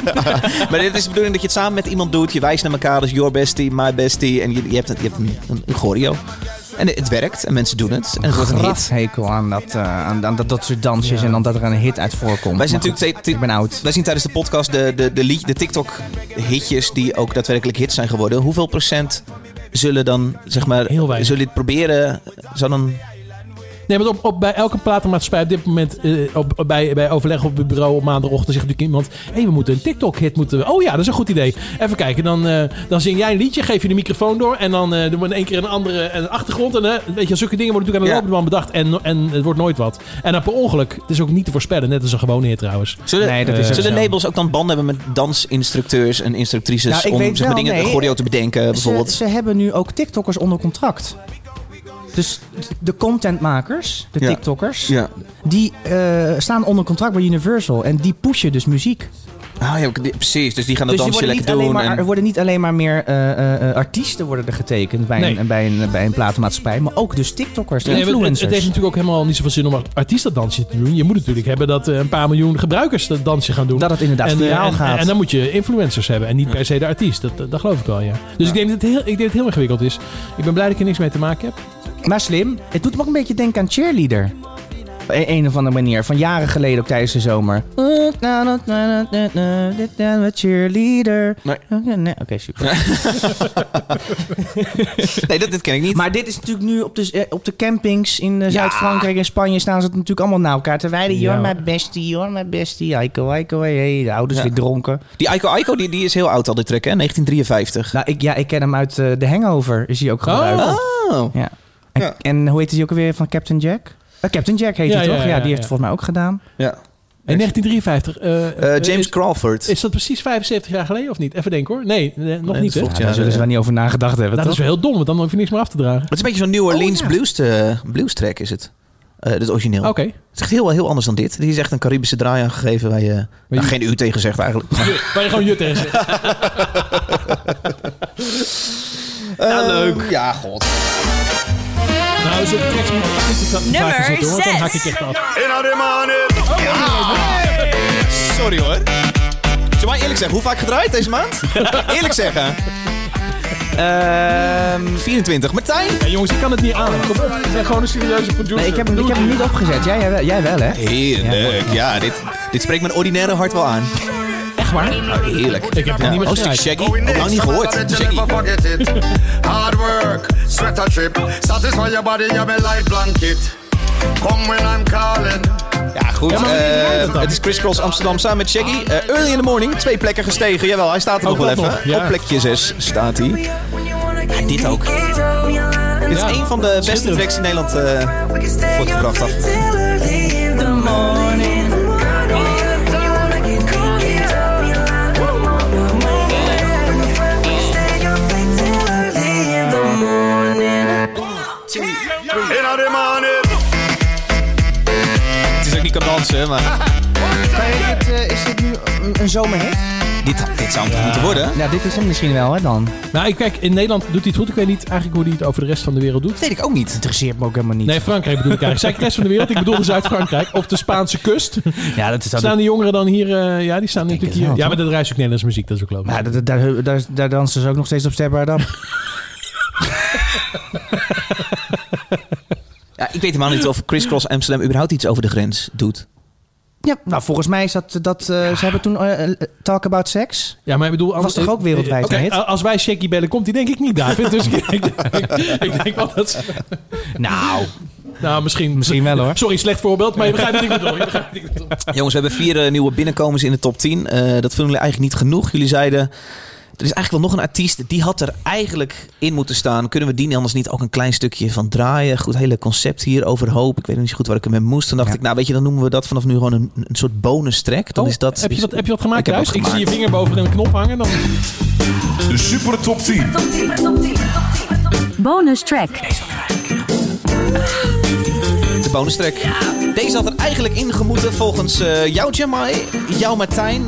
Speaker 2: Maar dit is de bedoeling dat je het samen met iemand doet. Je wijst naar elkaar, dus your bestie, my bestie. En je, je hebt, een- je hebt een, een, een choreo. En het werkt en mensen doen het. En het wordt een hit.
Speaker 3: hekel aan dat, eh, aan, aan dat, dat soort dansjes en dan dat er een hit uit voorkomt.
Speaker 2: Wij zijn
Speaker 3: Maar goed,
Speaker 2: natuurlijk te- te-
Speaker 3: ik ben oud.
Speaker 2: Wij zien tijdens de podcast de, de, de, lied- de TikTok-hitjes die ook daadwerkelijk hits zijn geworden. Hoeveel procent zullen dan, zeg maar,
Speaker 1: Heel weinig.
Speaker 2: zullen dit proberen? Zal dan
Speaker 1: Nee, want op, op, bij elke platenmaatschappij op dit moment, eh, op, op- bij, bij overleg op het bureau op maandagochtend, zegt natuurlijk iemand: hé, hey, we moeten een TikTok-hit moeten. we- Oh ja, dat is een goed idee. Even kijken, dan, eh, dan zing jij een liedje, geef je de microfoon door en dan eh, doen we in één keer een andere een achtergrond. En eh, weet je, zulke dingen worden natuurlijk aan de lopende
Speaker 2: Ja.
Speaker 1: man bedacht en, en het wordt nooit wat. En dan per ongeluk, het is ook niet te voorspellen, net als een gewone hit trouwens.
Speaker 2: zullen,
Speaker 3: Nee, dat is
Speaker 2: eh,
Speaker 3: ook
Speaker 2: zullen
Speaker 3: zo.
Speaker 2: labels ook dan banden hebben met dansinstructeurs en instructrices
Speaker 3: Nou, ik
Speaker 2: om
Speaker 3: weet
Speaker 2: zeg maar,
Speaker 3: wel,
Speaker 2: dingen
Speaker 3: nee,
Speaker 2: een choreo te bedenken?
Speaker 3: Ze,
Speaker 2: Bijvoorbeeld.
Speaker 3: ze hebben nu ook TikTokkers onder contract. Dus de contentmakers, de
Speaker 2: Ja.
Speaker 3: TikTokkers,
Speaker 2: ja.
Speaker 3: die eh, staan onder contract bij Universal. En die pushen dus muziek.
Speaker 2: Ah, ja, die- precies. Dus die gaan dat
Speaker 3: dus
Speaker 2: dansje
Speaker 3: die worden niet,
Speaker 2: lekker
Speaker 3: alleen
Speaker 2: doen.
Speaker 3: maar,
Speaker 2: en-
Speaker 3: er worden niet alleen maar meer eh, eh, eh, artiesten worden er getekend bij,
Speaker 1: Nee.
Speaker 3: een, bij, een, bij een platenmaatschappij. Maar ook dus TikTokkers,
Speaker 1: Nee, want het,
Speaker 3: influencers.
Speaker 1: het heeft natuurlijk ook helemaal niet zoveel zin om als artiest dat dansje te doen. Je moet natuurlijk hebben dat eh, een paar miljoen gebruikers dat dansje gaan doen.
Speaker 3: Dat het inderdaad
Speaker 1: eh,
Speaker 3: viraal gaat.
Speaker 1: En, dan moet je influencers hebben en niet per se de artiest. Dat, dat, dat geloof ik wel, ja. Dus ik, denk dat het heel, ik denk dat het heel ingewikkeld is. Ik ben blij dat ik er niks mee te maken heb.
Speaker 3: Maar slim. Het doet me ook een beetje denken aan cheerleader. Op Een, een of andere manier. Van jaren geleden ook tijdens de zomer. Dit zijn we cheerleader. Oh,
Speaker 2: Nee.
Speaker 3: Nee, Oké, super.
Speaker 2: Nee, dat, dit ken ik niet.
Speaker 3: Maar dit is natuurlijk nu op de, eh, op de campings in eh, Zuid-Frankrijk en Spanje staan ze het natuurlijk allemaal naar elkaar te wijden.
Speaker 1: Ja.
Speaker 3: You're my bestie, you're my bestie. Aiko, aiko, hey, hey. De ouders
Speaker 2: Ja.
Speaker 3: weer dronken.
Speaker 2: Die Aiko Aiko die, die is heel oud al, die track, hè? 1953.
Speaker 3: Nou, ik, ja, ik ken hem uit eh, The Hangover. Is hij ook gebruikt.
Speaker 2: Oh.
Speaker 3: Ja. En,
Speaker 2: Ja.
Speaker 3: en hoe heet hij ook alweer van Captain Jack? Eh, Captain Jack heet
Speaker 1: Ja,
Speaker 3: hij
Speaker 1: ja,
Speaker 3: toch? Ja,
Speaker 1: ja,
Speaker 3: die
Speaker 1: ja.
Speaker 3: heeft het volgens mij ook gedaan.
Speaker 2: Ja.
Speaker 1: In 1953. eh,
Speaker 2: Eh,
Speaker 1: eh,
Speaker 2: James
Speaker 1: is,
Speaker 2: Crawford.
Speaker 1: is dat precies 75 jaar geleden of niet? Even denken hoor. Nee, eh, nog
Speaker 2: dat
Speaker 1: niet hè.
Speaker 2: klopt,
Speaker 1: Nou,
Speaker 2: Ja,
Speaker 3: daar zullen
Speaker 2: de-
Speaker 3: ze wel niet over nagedacht hebben,
Speaker 1: dat
Speaker 3: toch?
Speaker 1: is wel heel dom, want dan hoef je niks meer af te dragen.
Speaker 2: Het is een beetje zo'n New Orleans
Speaker 3: Oh, ja.
Speaker 2: blues, eh, blues track is het. Eh het origineel.
Speaker 1: Oké.
Speaker 2: Het is echt heel, heel anders dan dit. Die is echt een Caribische draai aangegeven waar je, nou,
Speaker 1: je-
Speaker 2: geen u tegen zegt eigenlijk.
Speaker 1: Waar je gewoon jut tegen zegt.
Speaker 2: ja, leuk. Eh, Ja, god.
Speaker 1: Nou, zo'n tracks moet je niet te vaak
Speaker 4: Nummer
Speaker 1: gaan zitten, hoor, want dan
Speaker 4: zes.
Speaker 1: hak ik echt af.
Speaker 2: Sorry hoor. Zullen wij eerlijk zeggen, hoe vaak gedraaid deze maand? eerlijk zeggen. Ehm 24. Martijn?
Speaker 1: Ja, jongens, ik kan het niet aan. Kom op, we zijn gewoon een serieuze producer.
Speaker 3: Nee, ik, heb, hem-
Speaker 1: Doe
Speaker 3: ik heb hem niet opgezet. Jij, jij, wel- jij wel, hè?
Speaker 2: Heerlijk. Ja, dit, dit spreekt mijn ordinaire hart wel aan.
Speaker 1: Echt waar?
Speaker 2: Oh, heerlijk.
Speaker 1: Ik heb het
Speaker 2: Ja.
Speaker 1: niet meer
Speaker 2: Oh, stuk
Speaker 1: gedraaid.
Speaker 2: Shaggy. Ook lang niet gehoord. Shaggy.
Speaker 9: never forget it. Hard work, sweat a trip. Satisfy your body, you're my light blanket. Come when I'm calling.
Speaker 2: Ja, goed.
Speaker 1: Ja, maar wie
Speaker 2: eh,
Speaker 1: draait dat dan?
Speaker 2: het is Chris Cross Amsterdam samen met Shaggy. Eh, early in the morning, twee plekken gestegen. Jawel, hij staat er
Speaker 1: Ook
Speaker 2: nog wel
Speaker 1: dat
Speaker 2: even.
Speaker 1: Oh, nog, ja.
Speaker 2: Op plekje 6 staat hij.
Speaker 10: Ja,
Speaker 2: dit ook. Dit is
Speaker 1: Ja.
Speaker 2: een van de beste
Speaker 1: Schitterend.
Speaker 2: tracks in Nederland. eh. voortgebracht had.
Speaker 9: In the morning.
Speaker 2: het is ook niet kan dansen, maar
Speaker 3: dit, eh, is dit nu een, zomerhit?
Speaker 2: dit, dit zou hem toch moeten worden?
Speaker 3: Ja, dit is hem misschien wel, hè, dan.
Speaker 1: Nou, ik kijk, in Nederland doet hij het goed. Ik weet niet eigenlijk hoe hij het over de rest van de wereld doet.
Speaker 2: Dat weet ik ook niet.
Speaker 3: Interesseert me ook helemaal niet.
Speaker 1: Nee, Frankrijk bedoel ik eigenlijk. Zei ik de rest van de wereld? Ik bedoelde Zuid-Frankrijk. Of de Spaanse kust.
Speaker 3: ja, dat is
Speaker 2: nou,
Speaker 1: Staan die jongeren dan hier... eh, ja, die staan natuurlijk
Speaker 3: het
Speaker 1: hier.
Speaker 3: wel,
Speaker 1: ja,
Speaker 3: toch?
Speaker 1: maar dat reist ook Nederlands muziek. Dat is ook
Speaker 3: Maar
Speaker 2: nou,
Speaker 1: logisch.
Speaker 3: dat- dat- daar, daar, daar dansen ze ook nog steeds op Step Up.
Speaker 2: Ja, ik weet helemaal niet of Chris Cross Amsterdam überhaupt iets over de grens doet.
Speaker 3: Ja, nou, volgens mij is dat... dat eh, Ze hebben toen eh, eh, Talk About Sex.
Speaker 1: Ja, maar ik bedoel... anders-
Speaker 3: toch ook wereldwijd,
Speaker 1: Oké,
Speaker 3: Nate?
Speaker 1: als wij Shaky bellen, komt die denk ik niet, David. Dus ik, ik, denk- ik denk wel dat... ze-
Speaker 3: Nou,
Speaker 1: Nou, misschien...
Speaker 3: Misschien wel, hoor.
Speaker 1: Sorry, slecht voorbeeld. Maar je begrijpt wat ik bedoel. Je begrijpt wat ik bedoel.
Speaker 2: Jongens, we hebben vier eh, nieuwe binnenkomers in de top 10. Eh, dat vonden jullie eigenlijk niet genoeg. Jullie zeiden, er is eigenlijk wel nog een artiest, die had er eigenlijk in moeten staan. Kunnen we die anders niet ook een klein stukje van draaien? Goed, hele concept hier over hoop. Ik weet nog niet zo goed waar ik hem mee moest. Toen dacht
Speaker 3: Ja.
Speaker 2: ik, nou weet je, dan noemen we dat vanaf nu gewoon een, een soort bonus track. Dan
Speaker 1: Oh,
Speaker 2: is dat...
Speaker 1: heb, je wat, heb je wat gemaakt,
Speaker 2: Ik heb
Speaker 1: Ruijs?
Speaker 2: wat
Speaker 1: Ik zie je
Speaker 2: gemaakt.
Speaker 1: vinger boven een knop hangen. Dan...
Speaker 11: De Super Top 10.
Speaker 12: Bonus track.
Speaker 2: De bonus track. Deze had er eigenlijk ingemoeten volgens eh, jou, Jamai, jou, Martijn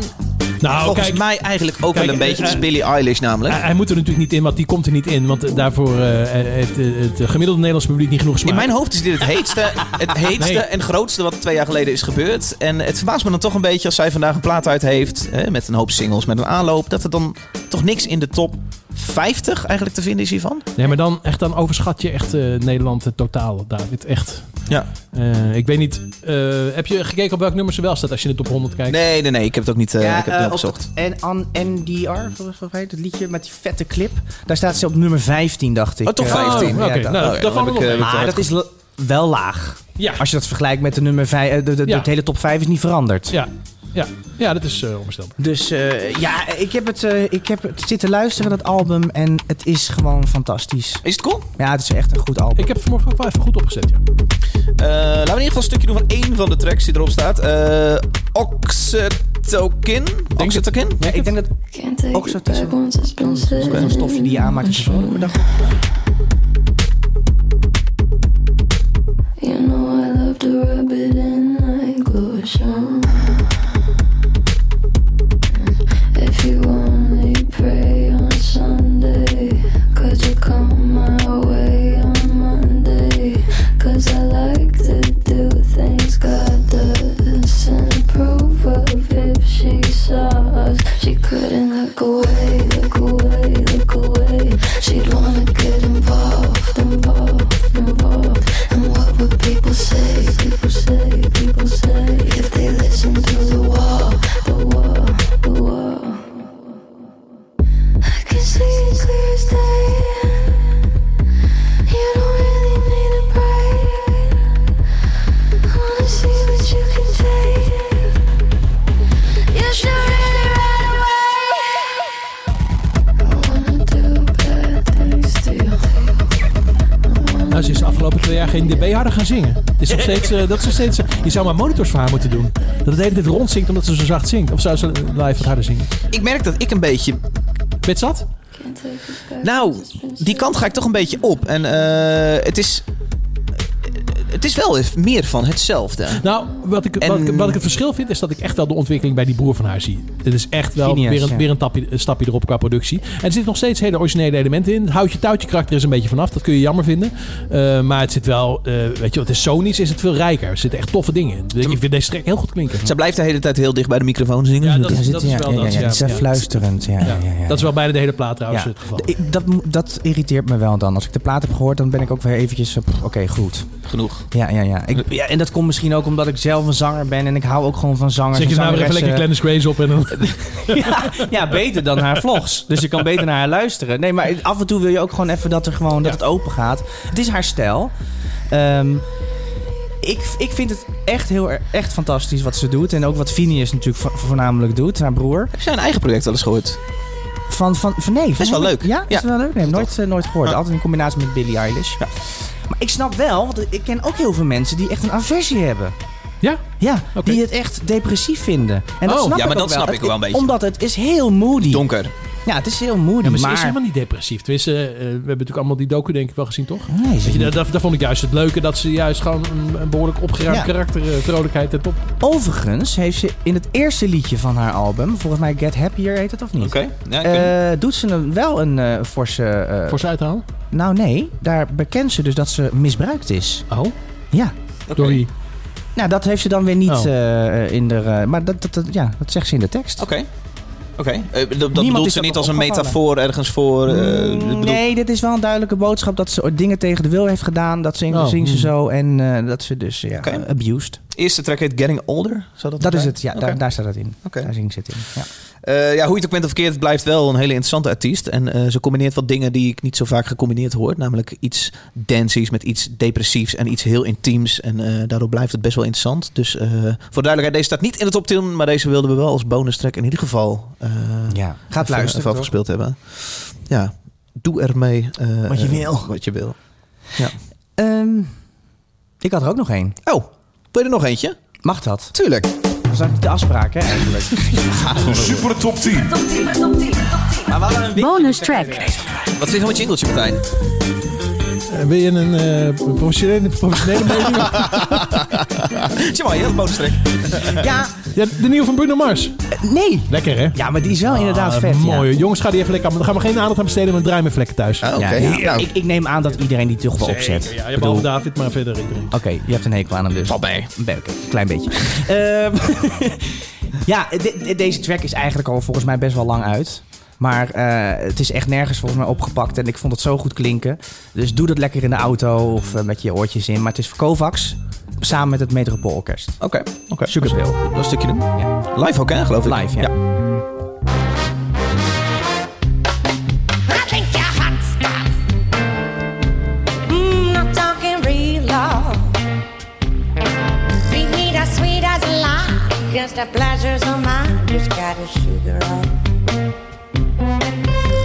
Speaker 1: Nou,
Speaker 2: Volgens
Speaker 1: kijk,
Speaker 2: mij eigenlijk ook
Speaker 1: kijk,
Speaker 2: wel een
Speaker 1: eh,
Speaker 2: beetje. Het is
Speaker 1: eh,
Speaker 2: Billie Eilish namelijk.
Speaker 1: Hij, hij moet er natuurlijk niet in, want die komt er niet in. Want eh, daarvoor eh, heeft eh, het gemiddelde Nederlands publiek niet genoeg smaak.
Speaker 2: in mijn hoofd is dit het heetste, het heetste
Speaker 1: Nee.
Speaker 2: en grootste wat twee jaar geleden is gebeurd. En het verbaast me dan toch een beetje als zij vandaag een plaat uit heeft. Hè, met een hoop singles, met een aanloop. Dat er dan toch niks in de top 50 eigenlijk te vinden is hiervan.
Speaker 1: Nee, maar dan, echt, dan overschat je echt eh, Nederland eh, totaal, David. Echt.
Speaker 2: Ja.
Speaker 1: Eh, ik weet niet. eh, heb je gekeken op welk nummer ze wel staat als je in de top 100 kijkt?
Speaker 2: Nee, nee, nee. Ik heb het ook niet, eh, ik heb het
Speaker 3: eh,
Speaker 2: niet
Speaker 3: op
Speaker 2: opgezocht.
Speaker 3: dat- en aan NDR, volgens mij, dat liedje met die vette clip. Daar staat ze op nummer 15, dacht ik.
Speaker 2: Oh, toch
Speaker 3: Eh,
Speaker 2: 15?
Speaker 1: Oh,
Speaker 3: Ja,
Speaker 1: Oké,
Speaker 3: dat-
Speaker 1: nou,
Speaker 2: oh ja,
Speaker 1: dat, dat
Speaker 2: dan
Speaker 1: valt
Speaker 2: heb
Speaker 1: wel
Speaker 2: ik,
Speaker 1: mee.
Speaker 2: eh,
Speaker 3: Maar dat is la- wel laag.
Speaker 1: Ja.
Speaker 3: Als je dat vergelijkt met de nummer 5, de, de,
Speaker 1: Ja.
Speaker 3: de hele top 5 is niet veranderd.
Speaker 1: ja. Ja. ja, dat is eh, onbestelbaar.
Speaker 3: Dus eh, ja, ik heb, het, eh, ik heb het zitten luisteren, dat album. En het is gewoon fantastisch.
Speaker 2: Is het cool?
Speaker 3: Ja, het is echt een goed album.
Speaker 1: Ik heb het vanmorgen ook wel even goed opgezet, ja.
Speaker 2: Eh, laten we in ieder geval een stukje doen van één van de tracks die erop staat. Eh Oxetokin. Oxetokin?
Speaker 3: Ja, ik denk dat ook zo tussen een stofje die je aanmaakt is een dag.
Speaker 10: You know I love to rub it in like lotion. If you only pray on Sunday, could you come my way on Monday? Cause I like to do things God doesn't approve of. If she saw us, she couldn't look away, look away, look away. She'd wanna get involved, involved, involved. And what would people say, people say, people say if they listen to the wall, the wall, the wall? I can see it clear as day. You don't really need a break. I wanna see what you can take. You should really run away. I wanna do bad things to you.
Speaker 1: Nou, ze is de afgelopen twee jaar geen DB harder gaan zingen. Het is nog steeds, eh, dat is nog steeds, eh, je zou maar monitors voor haar moeten doen. Dat het de hele tijd rondzingt omdat ze zo zacht zingt. Of zou ze live wat harder zingen?
Speaker 2: Ik merk dat ik een beetje...
Speaker 1: Ben je het zat?
Speaker 10: Can't take it back.
Speaker 2: Nou, die kant ga ik toch een beetje op. En eh, het is... Het is wel meer van hetzelfde.
Speaker 1: Nou, wat ik, wat,
Speaker 2: En-
Speaker 1: ik, wat ik het verschil vind, is dat ik echt wel de ontwikkeling bij die broer van haar zie. Het is echt wel
Speaker 3: Genius,
Speaker 1: weer, een,
Speaker 3: ja.
Speaker 1: weer een, tapje, een stapje erop qua productie. En er zitten nog steeds hele originele elementen in. Het houtje touwtje karakter is een beetje vanaf. Dat kun je jammer vinden. Eh, maar het zit wel, eh, weet je, wat, het is sonisch, is het veel rijker. Er zitten echt toffe dingen in. Ik vind deze track heel goed klinken.
Speaker 2: Zij blijft de hele tijd heel dicht bij de microfoon zingen.
Speaker 1: Ja, dat
Speaker 3: Ja,
Speaker 1: is,
Speaker 3: zit-
Speaker 1: dat is
Speaker 3: ja,
Speaker 1: wel
Speaker 3: ja,
Speaker 1: dat.
Speaker 3: ja,
Speaker 1: ja,
Speaker 3: het is
Speaker 1: ja.
Speaker 3: echt fluisterend. Ja, ja, ja, ja,
Speaker 1: Dat is wel bijna de hele plaat trouwens
Speaker 3: Ja.
Speaker 1: het geval.
Speaker 3: Ik- dat, mo- dat irriteert me wel dan. Als ik de plaat heb gehoord, dan ben ik ook weer eventjes... eh, pff, Oké, goed.
Speaker 2: Genoeg.
Speaker 3: Ja, ja, ja. Ik, ja. En dat komt misschien ook omdat ik zelf een zanger ben. En ik hou ook gewoon van zangers
Speaker 1: Zet je
Speaker 3: en
Speaker 1: nou weer even lekker
Speaker 3: zangeressen.
Speaker 1: Glennis Grace op en dan...
Speaker 3: ja, ja, beter dan haar vlogs. Dus je kan beter naar haar luisteren. Nee, maar af en toe wil je ook gewoon even dat, er gewoon, dat
Speaker 1: Ja.
Speaker 3: het open gaat. Het is haar stijl. Ehm, ik, ik vind het echt heel er- echt fantastisch wat ze doet. En ook wat Phineas natuurlijk vo- voornamelijk doet, haar broer.
Speaker 2: Heb jij een eigen project wel eens gehoord?
Speaker 3: Van, van, van nee. van-
Speaker 2: Is wel leuk.
Speaker 3: Ja, is
Speaker 2: Ja.
Speaker 3: wel leuk. Nee, nooit, eh, nooit gehoord.
Speaker 2: Ja.
Speaker 3: Altijd in combinatie met Billie Eilish.
Speaker 2: Ja.
Speaker 3: Maar ik snap wel, want ik ken ook heel veel mensen die echt een aversie hebben.
Speaker 1: Ja?
Speaker 3: Ja,
Speaker 1: Oké.
Speaker 3: die het echt depressief vinden. En dat
Speaker 1: Oh.
Speaker 3: snap
Speaker 2: Ja,
Speaker 3: ik
Speaker 2: maar
Speaker 3: ook
Speaker 2: dat snap ik wel een beetje.
Speaker 3: Omdat het is heel moody.
Speaker 2: Donker.
Speaker 3: Ja, het is heel moody.
Speaker 1: maar
Speaker 3: maar
Speaker 1: ze is helemaal niet depressief. Tenminste, eh, we hebben natuurlijk allemaal die docu denk ik wel gezien, toch?
Speaker 3: Nee, ze-
Speaker 1: Weet je, daar, daar- daar vond ik juist het leuke dat ze juist gewoon een, een behoorlijk opgeruimd
Speaker 3: Ja.
Speaker 1: karakter, eh, vrolijkheid en top.
Speaker 3: Overigens heeft ze in het eerste liedje van haar album, volgens mij Get Happier heet het of niet?
Speaker 2: Ja, ik weet niet.
Speaker 3: Eh, doet ze een, wel een eh, forse... eh,
Speaker 1: Voor ze uithalen.
Speaker 3: Nou nee, daar bekent ze dus dat ze misbruikt is.
Speaker 1: Oh,
Speaker 3: Ja.
Speaker 2: Oké.
Speaker 1: door wie?
Speaker 3: Nou, dat heeft ze dan weer niet
Speaker 1: Oh.
Speaker 3: eh, in de... eh, maar dat, dat, dat- ja, dat zegt ze in de tekst.
Speaker 2: Oké. Oké. Eh, dat- dat
Speaker 3: is
Speaker 2: bedoelt
Speaker 3: dat
Speaker 2: ze niet
Speaker 3: nog
Speaker 2: als een
Speaker 3: opgevallen.
Speaker 2: metafoor ergens voor. eh,
Speaker 3: Mm,
Speaker 2: ik bedoel-
Speaker 3: nee, dit is wel een duidelijke boodschap dat ze dingen tegen de wil heeft gedaan. Dat zingt,
Speaker 1: Oh,
Speaker 3: zingt ze
Speaker 1: hmm.
Speaker 3: zo en eh, dat ze dus ja,
Speaker 2: Oké.
Speaker 3: abused.
Speaker 2: Eerste track heet Getting Older. Zou dat
Speaker 3: Dat is
Speaker 2: zijn?
Speaker 3: het, ja,
Speaker 2: Oké.
Speaker 3: daar, daar staat dat in.
Speaker 2: Oké.
Speaker 3: Daar zingt ze het in, ja.
Speaker 2: Eh, ja, hoe je het ook bent of verkeerd, het blijft wel een hele interessante artiest. En eh, ze combineert wat dingen die ik niet zo vaak gecombineerd hoor. Namelijk iets dancies met iets depressiefs en iets heel intiems. En eh, daardoor blijft het best wel interessant. Dus eh, voor de duidelijkheid, deze staat niet in de top 10. Maar deze wilden we wel als bonus track in ieder geval eh
Speaker 3: ja. Gaat
Speaker 2: even-
Speaker 3: luisteren,
Speaker 2: even
Speaker 3: toch?
Speaker 2: afgespeeld hebben. Ja, doe ermee eh,
Speaker 3: Wat je
Speaker 2: eh,
Speaker 3: wil.
Speaker 2: Wat je wil.
Speaker 3: Ehm, ik had er ook nog één.
Speaker 2: Oh, wil je er nog eentje?
Speaker 3: Mag dat?
Speaker 2: Tuurlijk.
Speaker 3: Dat is ook de afspraak, hè, eigenlijk.
Speaker 11: De Super Top 10.
Speaker 3: maar we hadden een
Speaker 12: Bonus track.
Speaker 2: Wat vind je van het jingletje, Martijn?
Speaker 1: Eh,
Speaker 12: eh, wil je een eh, professionele, professionele mening?
Speaker 2: Zie maar, je hebt een bonustrek.
Speaker 3: Ja,
Speaker 1: Ja, de nieuwe van Bruno Mars.
Speaker 3: nee.
Speaker 1: Lekker, hè?
Speaker 3: Ja, maar die is wel inderdaad
Speaker 1: Ah,
Speaker 3: vet. ja.
Speaker 1: Mooi. Jongens, ga die even lekker aan. Dan gaan we geen aandacht aan besteden met draai mijn vlekken thuis.
Speaker 12: Oh.
Speaker 2: Ah, Oké,
Speaker 3: Ja, ja.
Speaker 2: nou,
Speaker 3: Ik, ik neem aan dat iedereen die toch wel opzet.
Speaker 1: Ja,
Speaker 3: Ik
Speaker 1: je
Speaker 3: bedoel-
Speaker 1: behalve David, maar verder iedereen.
Speaker 3: Oké, je hebt een hekel aan hem dus.
Speaker 2: valt mee.
Speaker 3: Een beetje, een klein beetje. Ehm, ja, de- de- deze track is eigenlijk al volgens mij best wel lang uit. Maar eh, het is echt nergens volgens mij opgepakt. En ik vond het zo goed klinken. Dus doe dat lekker in de auto of eh, met je oortjes in. Maar het is voor Kovacs samen met het Metropoolorkest.
Speaker 2: Oké, oké.
Speaker 3: Sugar Bill.
Speaker 2: Dat is een stukje doen.
Speaker 3: Ja.
Speaker 2: Live ook, hè, geloof ik.
Speaker 3: Live, ja.
Speaker 10: I think you're hot stuff. Mmm, not talking real love. Treat me as sweet as a lie. Guess the pleasure's of mine just got a sugar on.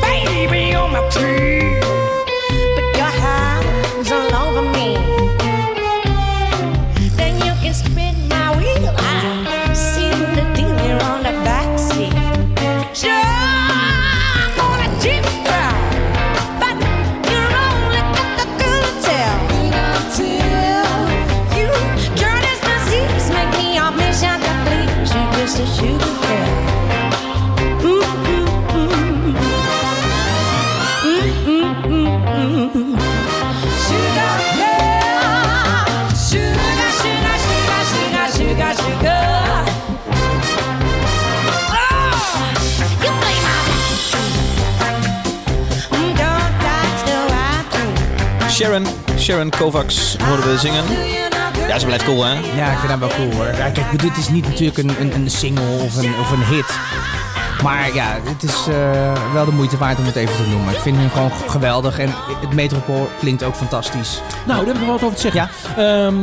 Speaker 10: Baby, you're my tree. Put your hands all over me. Then you can spin my wheel. I see the deal here on the backseat. Sure, I'm gonna cheat her, but you're only got the good tale. You journeys disease make me a mission to please. You're just a sugar girl. Mm-mm-mm. Mm-mm-mm-mm. Sugar girl, sugar, sugar, sugar, sugar, sugar, sugar. You play my Don't touch the right
Speaker 2: Sharon, Sharon Kovacs horen we zingen. Ja, ze blijft cool, hè?
Speaker 3: Ja, ik vind dat wel cool hoor. Ja, kijk, maar dit is niet natuurlijk een, een, een single of een, of een hit. Maar ja, het is eh, wel de moeite waard om het even te noemen. Ik vind hem gewoon geweldig. En het Metropool klinkt ook fantastisch.
Speaker 1: Nou, daar heb ik nog wat over te zeggen. Ehm,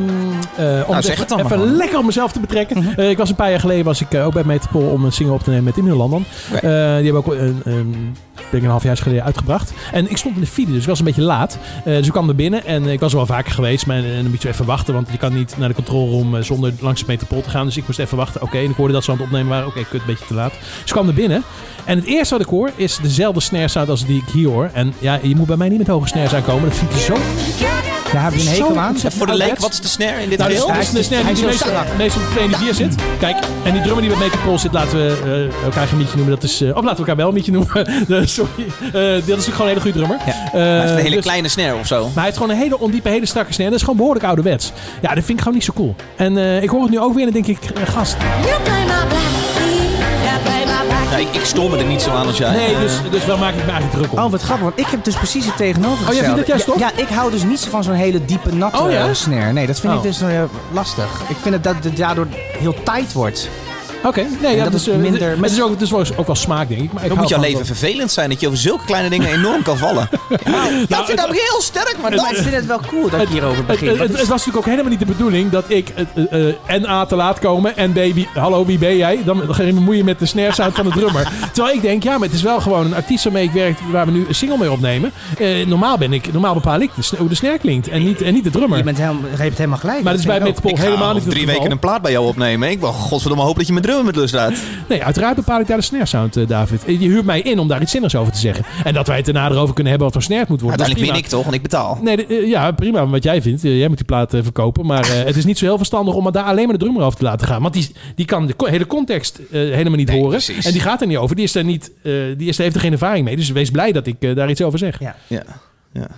Speaker 1: eh, om
Speaker 2: Nou, zeg het dan maar Mhm.
Speaker 1: even
Speaker 2: gewoon.
Speaker 1: lekker op mezelf te betrekken. Eh, ik was een paar jaar geleden was ik eh, ook bij Metropool om een single op te nemen met Imre Landan.
Speaker 2: Ja.
Speaker 1: Eh, die hebben ook een, een, denk een half jaar geleden uitgebracht. En ik stond in de file, dus ik was een beetje laat. Eh, dus ik kwam er binnen en ik was er wel vaker geweest. Maar en dan moet je even wachten, want je kan niet naar de control room eh, zonder langs het Metropool te gaan. Dus ik moest even wachten. Oké, en ik hoorde dat ze aan het opnemen waren. Oké, kut, een beetje te laat. Dus ik kwam er binnen. En het eerste wat ik hoor is dezelfde snare sound als die ik hier hoor. En ja, je moet bij mij niet met hoge snares aankomen. Dat vind ik zo
Speaker 3: Daar heb je een hekel aan.
Speaker 1: Zo-
Speaker 2: Voor de leek,
Speaker 1: ouderwets.
Speaker 2: wat is de snare in
Speaker 1: Oh,
Speaker 2: dit
Speaker 1: Nou,
Speaker 2: deel?
Speaker 1: dus,
Speaker 3: Hij
Speaker 1: dus,
Speaker 3: is-
Speaker 1: dus, nee,
Speaker 3: hij is
Speaker 1: die
Speaker 3: heel
Speaker 1: meestal,
Speaker 3: strak.
Speaker 1: meestal op degene die hier zit. Kijk, en die drummer die bij Make It Pulse zit, laten we eh, elkaar geen mietje noemen. Dat is, eh, of laten we elkaar wel een mietje noemen. Eh, Sorry. Eh, dat is natuurlijk gewoon een hele goede drummer.
Speaker 3: Ja.
Speaker 1: Eh,
Speaker 2: Hij heeft een hele
Speaker 1: dus-
Speaker 2: kleine snare of zo.
Speaker 1: maar hij heeft gewoon een hele ondiepe, hele strakke snare. Dat is gewoon behoorlijk ouderwets. Ja, dat vind ik gewoon niet zo cool. En eh, ik hoor het nu ook weer en dan denk ik, eh, gast.
Speaker 3: Oh,
Speaker 10: You play my black key, I play my black
Speaker 2: Ja, ik, ik stoor me er niet zo aan als jij.
Speaker 1: Nee, dus, dus waar maak ik me eigenlijk druk om?
Speaker 3: Oh, wat grappig, want ik heb dus precies het tegenovergestelde.
Speaker 1: Oh, jij vindt het juist
Speaker 3: ja,
Speaker 1: tof?
Speaker 3: ja, ik hou dus niet zo van zo'n hele diepe, natte
Speaker 1: Oh, ja?
Speaker 3: eh, snare. Nee, dat vind
Speaker 1: Oh.
Speaker 3: ik dus eh, lastig. Ik vind het dat het daardoor heel tight wordt.
Speaker 1: Oké, nee, ja,
Speaker 3: dat
Speaker 1: dat
Speaker 3: is
Speaker 1: is, eh,
Speaker 3: minder-
Speaker 1: het is ook, het is wel, ook wel smaak, denk ik. Maar ik
Speaker 2: Dan
Speaker 1: hou
Speaker 2: moet jouw
Speaker 1: gewoon
Speaker 2: leven
Speaker 1: van-
Speaker 2: vervelend zijn dat je over zulke kleine dingen enorm kan vallen.
Speaker 1: Nou,
Speaker 2: dat vind ik ook heel sterk, maar
Speaker 3: Maar ik
Speaker 2: dat...
Speaker 3: vind het wel cool dat ik hierover
Speaker 1: Het,
Speaker 3: begin.
Speaker 1: het,
Speaker 3: want
Speaker 1: het was natuurlijk ook helemaal niet de bedoeling dat ik eh, eh, eh, en A te laat komen en B, wie, hallo wie ben jij? Dan ga je bemoeien met de snare sound van de drummer. Terwijl ik denk, ja, maar het is wel gewoon een artiest waarmee ik werk, waar we nu een single mee opnemen. Eh, normaal ben ik, normaal bepaal ik de, sn- hoe de snare klinkt en niet, en niet de drummer.
Speaker 3: Je bent helemaal, je hebt helemaal gelijk.
Speaker 1: maar dat is bij
Speaker 3: vind ik ook.
Speaker 1: Metropool
Speaker 2: Ik ga
Speaker 1: helemaal niet
Speaker 2: Nou,
Speaker 1: het
Speaker 2: over drie
Speaker 1: geval.
Speaker 2: weken een plaat bij jou opnemen. Ik wil godverdomme hoop dat je mijn drummen met lust laat.
Speaker 1: Nee, uiteraard bepaal ik daar de snare sound, eh, David. Eh, Je huurt mij in om daar iets zinnigs over te zeggen. En dat wij het daarna erover kunnen hebben wat voor snare het moet worden. dat is
Speaker 2: Uiteindelijk
Speaker 1: prima.
Speaker 2: win ik toch, want ik betaal.
Speaker 1: Nee, de- eh, ja, prima wat jij vindt. Eh, Jij moet die plaat eh, verkopen. Maar eh, het is niet zo heel verstandig om het daar alleen maar de drummer over te laten gaan. Want die, die kan de co- hele context eh, helemaal niet
Speaker 2: Nee,
Speaker 1: horen.
Speaker 2: precies.
Speaker 1: En die gaat er niet over. Die, is er niet, eh, die is, heeft er geen ervaring mee. Dus wees blij dat ik eh, daar iets over zeg.
Speaker 3: Ja.
Speaker 2: Ja.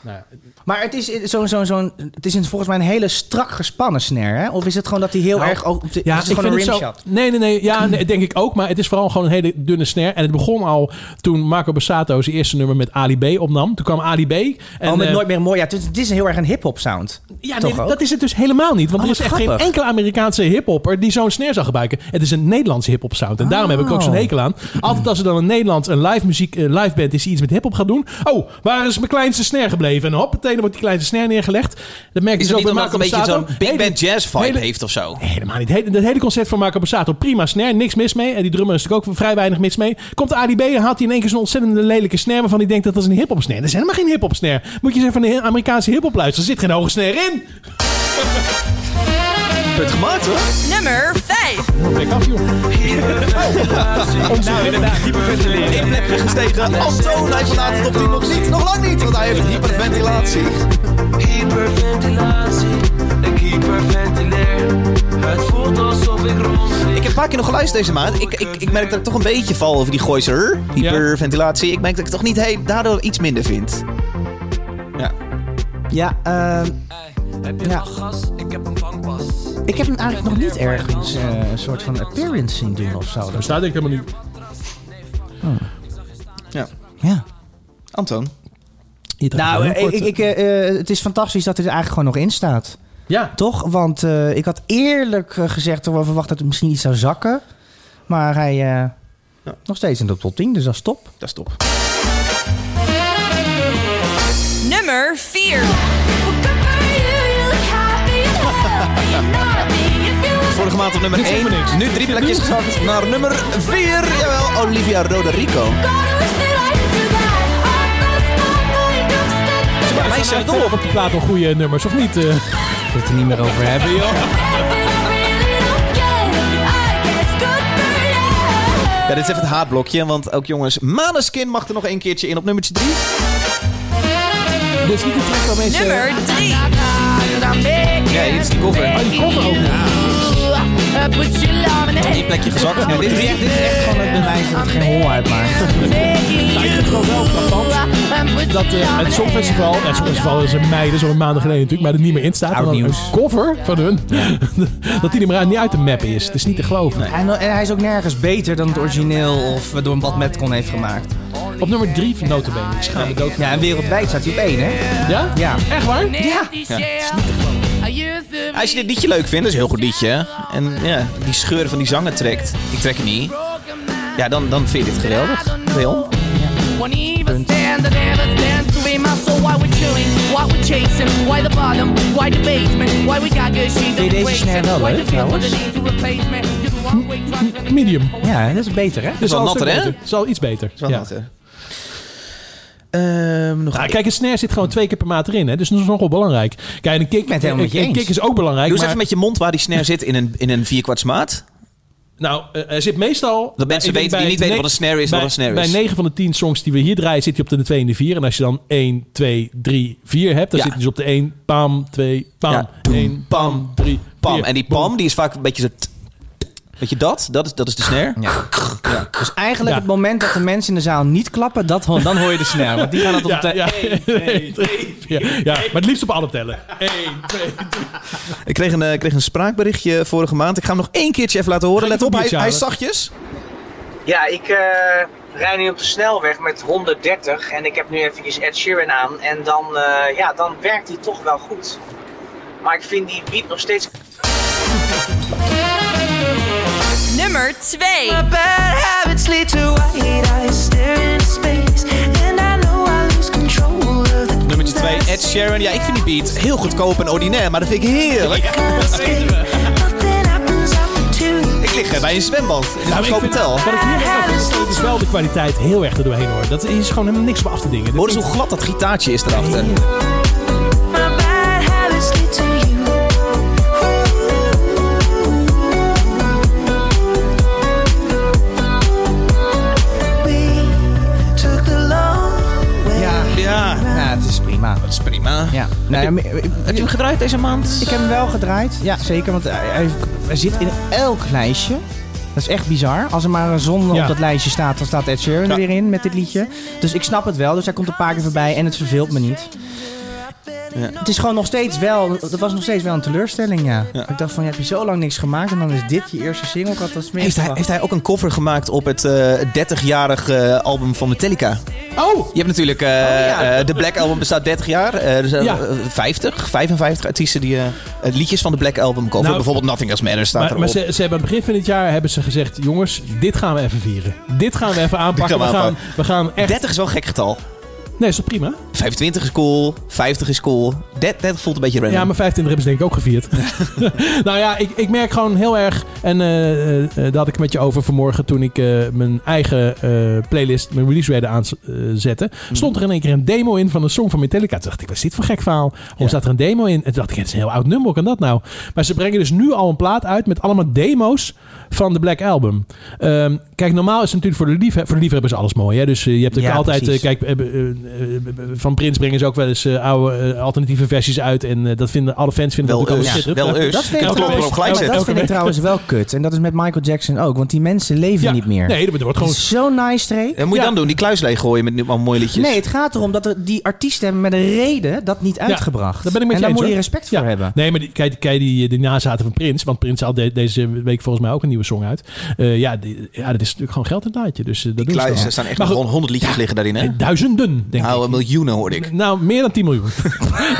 Speaker 2: Ja.
Speaker 3: Maar het is, eh, zo, zo, zo, het is een- volgens mij een hele strak gespannen snare, hè? Of is het gewoon dat hij heel
Speaker 1: Nou,
Speaker 3: erg... Ook,
Speaker 1: Ja,
Speaker 3: is het gewoon een rimshot?
Speaker 1: Nee, nee, nee. Ja, nee, denk ik ook. Maar het is vooral gewoon een hele dunne snare. En het begon al toen Marco Bassato zijn eerste nummer met Ali B opnam. Toen kwam Ali B. En,
Speaker 3: oh, met
Speaker 1: eh,
Speaker 3: Nooit meer mooi. Ja, het, is- het is heel erg een hip-hop sound.
Speaker 1: Ja,
Speaker 3: Toch
Speaker 1: nee,
Speaker 3: ook?
Speaker 1: dat is het dus helemaal niet. Want
Speaker 3: Oh,
Speaker 1: er is
Speaker 3: wat
Speaker 1: echt
Speaker 3: grappig.
Speaker 1: geen enkele Amerikaanse hiphopper die zo'n snare zou gebruiken. Het is een Nederlandse hiphop sound. En daarom heb ik ook
Speaker 2: Oh.
Speaker 1: zo'n hekel aan. Altijd als er dan in Nederland een live, muziek, een live band is die iets met hiphop gaat doen. Oh, waar is mijn kleinste snare gebleven? En hoppatee, dan wordt die kleinste snare neergelegd. Dat merk je
Speaker 2: Is
Speaker 1: zo
Speaker 2: het
Speaker 1: bij
Speaker 2: niet omdat het
Speaker 1: Marco
Speaker 2: een beetje
Speaker 1: Borsato.
Speaker 2: zo'n big
Speaker 1: Hele-
Speaker 2: band jazz vibe
Speaker 1: hele-
Speaker 2: heeft of zo?
Speaker 1: Nee, helemaal niet. Hele- Dat hele concert van Marco Borsato, prima snare, niks mis mee. En die drummer is natuurlijk ook vrij weinig mis mee. Komt de ADB en haalt hij in één keer zo'n ontzettende lelijke snare waarvan hij denkt dat dat is een hiphop snare. Dat is helemaal geen hiphop snare. Moet je eens even een Amerikaanse hiphop luisteren. Er zit geen hoge snare in.
Speaker 2: Punt gemaakt hoor.
Speaker 4: Nummer 5.
Speaker 1: Ik af, joh.
Speaker 2: Nou, inderdaad, hyperventilatie. Eén plekje gestegen. Antoon, hij verlaat het op 10 nog niet. Nog lang niet, want hij heeft hyperventilatie.
Speaker 5: situatie, ik hyperventileer. Het voelt alsof ik rondvlieg.
Speaker 2: Ik heb een paar keer nog geluisterd deze maand. Ik, ik, ik merk dat ik toch een beetje val over die gooiser. Hyperventilatie. Ik merk dat ik toch niet hey, daardoor iets minder vind. Ja.
Speaker 3: Ja, ehm,
Speaker 5: Heb je
Speaker 3: Ja.
Speaker 5: nog gas? Ik heb een bankpas.
Speaker 3: ik heb hem eigenlijk nog niet ergens eh, een soort van appearance zien doen of zo. dus-
Speaker 1: Daar staat denk ik helemaal niet.
Speaker 2: Ja.
Speaker 3: Ja.
Speaker 2: Anton.
Speaker 3: Nou, eh, ik, ik, eh, eh, het is fantastisch dat hij er eigenlijk gewoon nog in staat.
Speaker 1: Ja.
Speaker 3: Toch? Want eh, ik had eerlijk eh, gezegd toch wel verwacht dat het misschien iets zou zakken. Maar hij eh, nog steeds in de top 10, dus dat is top.
Speaker 2: Dat is top.
Speaker 4: Nummer 4.
Speaker 2: Vorige maand op nummer 1. Nu drie plekjes gezakt naar nummer 4. Jawel, Olivia Rodrigo.
Speaker 1: Ja, mij zijn toch op een plaat al goede nummers, of niet? eh?
Speaker 13: we het er niet meer over hebben, joh.
Speaker 2: Ja, dit is even het haatblokje, want ook jongens, Maneskin mag er nog een keertje in op nummertje 3. Dit is niet de track waarmee ze...
Speaker 4: Nummer 3.
Speaker 2: Nee, dit is die cover. Oh, die cover ook. Die plekje gezakt. Ja, dit, is echt, dit is echt gewoon het bewijs dat het geen hol uitmaakt.
Speaker 1: Nou, ik vind het gewoon wel frappant dat eh, het Songfestival... ja, Het Songfestival is in mei, dat is al een maand geleden natuurlijk, maar er niet meer in staat. En dan een cover van hun, dat die er maar niet uit de map is. Het is niet te geloven.
Speaker 3: En, en hij is ook nergens beter dan het origineel of eh, door wat Metcon heeft gemaakt.
Speaker 1: Op nummer 3 van Notabene. Ik schaam me dood.
Speaker 3: Ja, en wereldwijd staat hij op één, hè?
Speaker 1: Ja?
Speaker 3: Ja.
Speaker 1: Echt waar?
Speaker 3: Ja.
Speaker 2: Als je dit liedje leuk vindt, dat is een heel goed liedje. hè? En ja, die scheur van die zanger trekt. Ik trek het niet. Ja, dan, dan vind je dit geweldig. Wel.
Speaker 14: Won't even stand, I never stand to be my soul. Why we chewing, why we chasing, why the bottom, why the basement, why we got good shit,
Speaker 3: Vind je deze snare wel
Speaker 14: why
Speaker 3: leuk, trouwens?
Speaker 14: need to replace me. You the wrong way, try to
Speaker 1: Medium.
Speaker 3: Ja, dat is beter, hè?
Speaker 1: Dat is wel natter, hè? Dat is wel iets beter.
Speaker 2: wel
Speaker 1: ja.
Speaker 2: natter. Ehm,
Speaker 1: nou, kijk, een snare zit gewoon twee keer per maat erin. Hè? Dus dat is nogal belangrijk. Kijk, en een kick,
Speaker 2: helemaal met je
Speaker 1: een, een
Speaker 2: eens.
Speaker 1: kick is ook belangrijk.
Speaker 2: Doe eens
Speaker 1: maar-
Speaker 2: even met je mond waar die snare zit in een, in een vierkwarts maat.
Speaker 1: Nou, eh, er zit meestal...
Speaker 2: Dat mensen
Speaker 1: ik denk
Speaker 2: weten, die
Speaker 1: bij
Speaker 2: niet weten
Speaker 1: ne-
Speaker 2: wat een snare is,
Speaker 1: bij,
Speaker 2: wat een snare is.
Speaker 1: Bij 9 van de 10 songs die we hier draaien zit hij op de 2 en de 4. En als je dan 1, 2, 3, 4 hebt, dan
Speaker 2: Ja.
Speaker 1: zit hij dus op de 1, pam, 2, pam, 1, pam, 3,
Speaker 2: Pam.
Speaker 1: 4.
Speaker 2: En die pam, die is vaak een beetje zo... t- Weet je dat? Dat is, dat is de snare. Ja.
Speaker 3: Dus eigenlijk het moment dat de mensen in de zaal niet klappen, dat, ho- dan hoor je de snare. Want die gaan dat op
Speaker 1: Ja,
Speaker 3: de...
Speaker 1: ja. Ja, ja, maar het liefst op alle tellen. 1, 2, 3.
Speaker 2: Ik kreeg een, eh, ik kreeg een spraakberichtje vorige maand. Ik ga hem nog één keertje even laten horen. Let op, hij,
Speaker 7: biertje
Speaker 2: hij is
Speaker 7: halen?
Speaker 2: zachtjes.
Speaker 7: Ja, ik eh, rij nu op de snelweg met 130 en ik heb nu eventjes Ed Sheeran aan en dan, eh, ja, dan werkt die toch wel goed. Maar ik vind die beat nog steeds...
Speaker 4: Nummer 2.
Speaker 15: My bad habits lead to white eyes staring into space. And I know I lose control of the
Speaker 2: Nummertje 2, Ed Sheeran. Ja, ik vind die beat heel goedkoop en ordinair, maar dat vind ik heerlijk. Ik lig eh, bij een zwembad. in Een
Speaker 1: Nou, ik
Speaker 2: goedkoop
Speaker 1: vind-
Speaker 2: hotel.
Speaker 1: Wat ik hier wel vind, is- is wel de kwaliteit heel erg erdoorheen hoor. Dat is gewoon helemaal niks op af te dingen. Hoor
Speaker 2: eens hoe glad dat gitaartje is erachter.
Speaker 15: My bad habits lead to you. We took the long way.
Speaker 2: Ja.
Speaker 3: ja, het is prima. Het
Speaker 2: is prima.
Speaker 3: Ja. Nou, ja, maar-
Speaker 2: heb je hem gedraaid deze maand?
Speaker 3: Ik heb hem wel gedraaid, ja zeker. Want hij, hij- hij zit in elk lijstje. Dat is echt bizar. Als er maar een zon
Speaker 1: Ja.
Speaker 3: op dat lijstje staat, dan staat Ed Sheeran er weer in met dit liedje. Dus ik snap het wel. Dus hij komt een paar keer voorbij en het verveelt me niet. Het is gewoon nog steeds wel, het was nog steeds wel een teleurstelling, ja. Ik dacht van, ja, heb je zo lang niks gemaakt en dan is dit je eerste single? Ik had dat meer
Speaker 2: Heeft hij,
Speaker 3: verwacht.
Speaker 2: heeft hij ook een cover gemaakt op het eh, 30-jarig eh, album van Metallica?
Speaker 1: Oh!
Speaker 2: Je hebt natuurlijk... eh, eh, de Black Album bestaat 30 jaar. Eh, er zijn
Speaker 1: Ja.
Speaker 2: eh, 50, 55 artiesten die eh, liedjes van de Black Album coveren.
Speaker 1: Nou,
Speaker 2: Bijvoorbeeld Nothing Else Matters staat
Speaker 1: Maar,
Speaker 2: erop.
Speaker 1: maar ze, ze hebben aan het begin van dit jaar hebben ze gezegd: jongens, dit gaan we even vieren. Dit gaan we even aanpakken.
Speaker 2: gaan we
Speaker 1: we, gaan,
Speaker 2: aanpakken.
Speaker 1: we gaan echt.
Speaker 2: 30 is wel een gek getal.
Speaker 1: Nee, is toch prima?
Speaker 2: 25 is cool, 50 is cool. 30 voelt een beetje random.
Speaker 1: Ja, maar 25 hebben ze denk ik ook gevierd. nou ja, ik, ik merk gewoon heel erg. En eh, eh, eh, daar had ik het met je over vanmorgen toen ik eh, mijn eigen eh, playlist, mijn release radar aanzette. Stond er in één keer een demo in van een song van Metallica. Toen dacht ik, wat is dit voor gek verhaal? Hoe staat er een demo in? En toen dacht ik, het is een heel oud nummer, hoe kan dat nou? Maar ze brengen dus nu al een plaat uit met allemaal demo's van de Black Album. Ehm, Kijk, normaal is het natuurlijk voor de, liefhe- voor de liefhebbers alles mooi. Hè? Dus eh, je hebt ook
Speaker 3: Ja,
Speaker 1: altijd... eh,
Speaker 3: precies.
Speaker 1: kijk, eh, eh, eh, van Prins brengen ze ook wel eens eh, oude eh, alternatieve versies uit. En eh, dat vinden alle fans vinden
Speaker 2: Wel
Speaker 1: dat
Speaker 2: eens,
Speaker 1: shit.
Speaker 2: wel eens.
Speaker 3: Dat vind,
Speaker 2: Elke klok
Speaker 3: ik trouwens,
Speaker 2: erop gelijk
Speaker 3: oh,
Speaker 2: zetten.
Speaker 3: dat vind ik
Speaker 2: Elke
Speaker 3: trouwens wel kut. En dat is met Michael Jackson ook. Want die mensen leven niet meer.
Speaker 1: Nee, er wordt gewoon-
Speaker 3: Het is Zo'n nice streek.
Speaker 2: En moet je dan doen? Die kluis leeggooien met nu al mooie liedjes?
Speaker 3: Nee, het gaat erom dat er, die artiesten hebben met een reden dat niet uitgebracht.
Speaker 1: dat ben ik met
Speaker 3: en
Speaker 1: je
Speaker 3: daar
Speaker 1: eens,
Speaker 3: moet je
Speaker 1: hoor.
Speaker 3: respect voor hebben.
Speaker 1: Nee, maar die, kijk, kijk die, die nazaten van Prins. Want Prins haalt de- deze week volgens mij ook een nieuwe song uit. Eh, ja, die- ja, dat is natuurlijk gewoon geld in het laadje. Dus eh, dat doen ze
Speaker 2: Kluis,
Speaker 1: wel.
Speaker 2: er staan echt
Speaker 1: Maar
Speaker 2: nog
Speaker 1: goed,
Speaker 2: gewoon honderd liedjes liggen daarin, hè?
Speaker 1: Duizenden, denk
Speaker 2: Nou,
Speaker 1: ik.
Speaker 2: een miljoenen hoorde ik.
Speaker 1: Nou, meer dan 10 miljoen.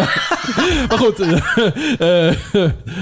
Speaker 1: maar goed, eh, eh,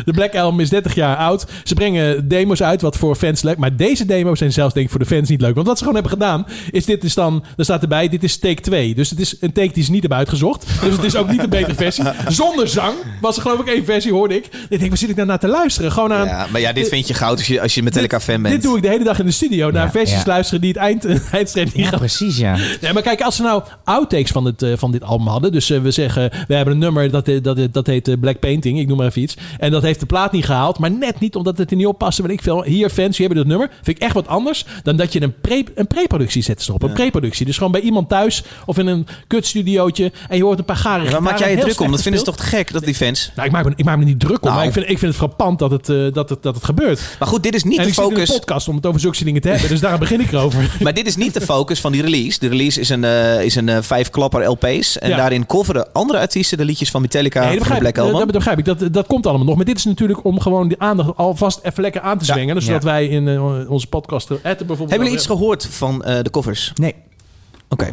Speaker 1: de Black Album is 30 jaar oud. Ze brengen demo's uit, wat voor fans leuk. Maar deze demo's zijn zelfs denk ik voor de fans niet leuk. Want wat ze gewoon hebben gedaan, is dit is dan... Er staat erbij, dit is take 2. Dus het is een take die ze niet hebben uitgezocht. Dus het is ook niet de betere versie. Zonder zang was er geloof ik één versie, hoorde ik. Ik denk, waar zit ik nou naar te luisteren? Gewoon naar...
Speaker 2: Ja, maar ja, dit vind je goud als je, als je Metallica-fan bent.
Speaker 1: eh, Dit doe ik de hele dag in de studio. Naar
Speaker 2: Ja,
Speaker 1: versies
Speaker 2: ja.
Speaker 1: luisteren die het eind, eindstrijd niet gaan.
Speaker 3: Precies, ja.
Speaker 1: Nee, maar kijk, als ze nou outtakes van, het, eh, van dit album hadden. Dus eh, we zeggen, we hebben een nummer dat, eh, dat, dat heet eh, Black Painting. Ik noem maar even iets. En dat heeft de plaat niet gehaald. Maar net niet omdat het er niet op paste. Weet ik veel. Hier, fans, die hebben dat nummer. Vind ik echt wat anders dan dat je een, pre, een pre-productie zet erop. Een pre-productie. Dus gewoon bij iemand thuis of in een kutstudiootje. En je hoort een paar garen.
Speaker 2: Ja, Waar maak
Speaker 1: gitaren,
Speaker 2: jij je
Speaker 1: heel
Speaker 2: druk om?
Speaker 1: slecht
Speaker 2: Dat vinden ze toch
Speaker 1: gespeeld.
Speaker 2: te gek, dat die fans?
Speaker 1: Nou, ik maak, me, ik maak me niet druk om.
Speaker 2: Nou.
Speaker 1: Maar ik vind, ik vind het frappant dat het, eh, dat, het, dat het gebeurt.
Speaker 2: Maar goed, dit is niet
Speaker 1: en
Speaker 2: de
Speaker 1: ik zit in
Speaker 2: focus.
Speaker 1: een podcast om het over zulke dingen te hebben. Dus daar begin ik erover.
Speaker 2: Maar dit is niet de focus van die release. De release is een, eh, is een eh, vijfklapper LP's. En
Speaker 1: Ja.
Speaker 2: daarin coveren andere artiesten de liedjes van Metallica
Speaker 1: Nee,
Speaker 2: en
Speaker 1: dat
Speaker 2: Eh, van de
Speaker 1: begrijp, ik.
Speaker 2: Black
Speaker 1: dat,
Speaker 2: Album.
Speaker 1: dat begrijp ik. Dat, dat komt allemaal nog. Maar dit is natuurlijk om gewoon die aandacht alvast even lekker aan te zwengelen. zodat
Speaker 2: ja.
Speaker 1: wij in eh, onze podcast... eh, Etten bijvoorbeeld
Speaker 2: Hebben jullie
Speaker 1: wel-
Speaker 2: iets gehoord van eh, de covers?
Speaker 3: Nee.
Speaker 2: Oké.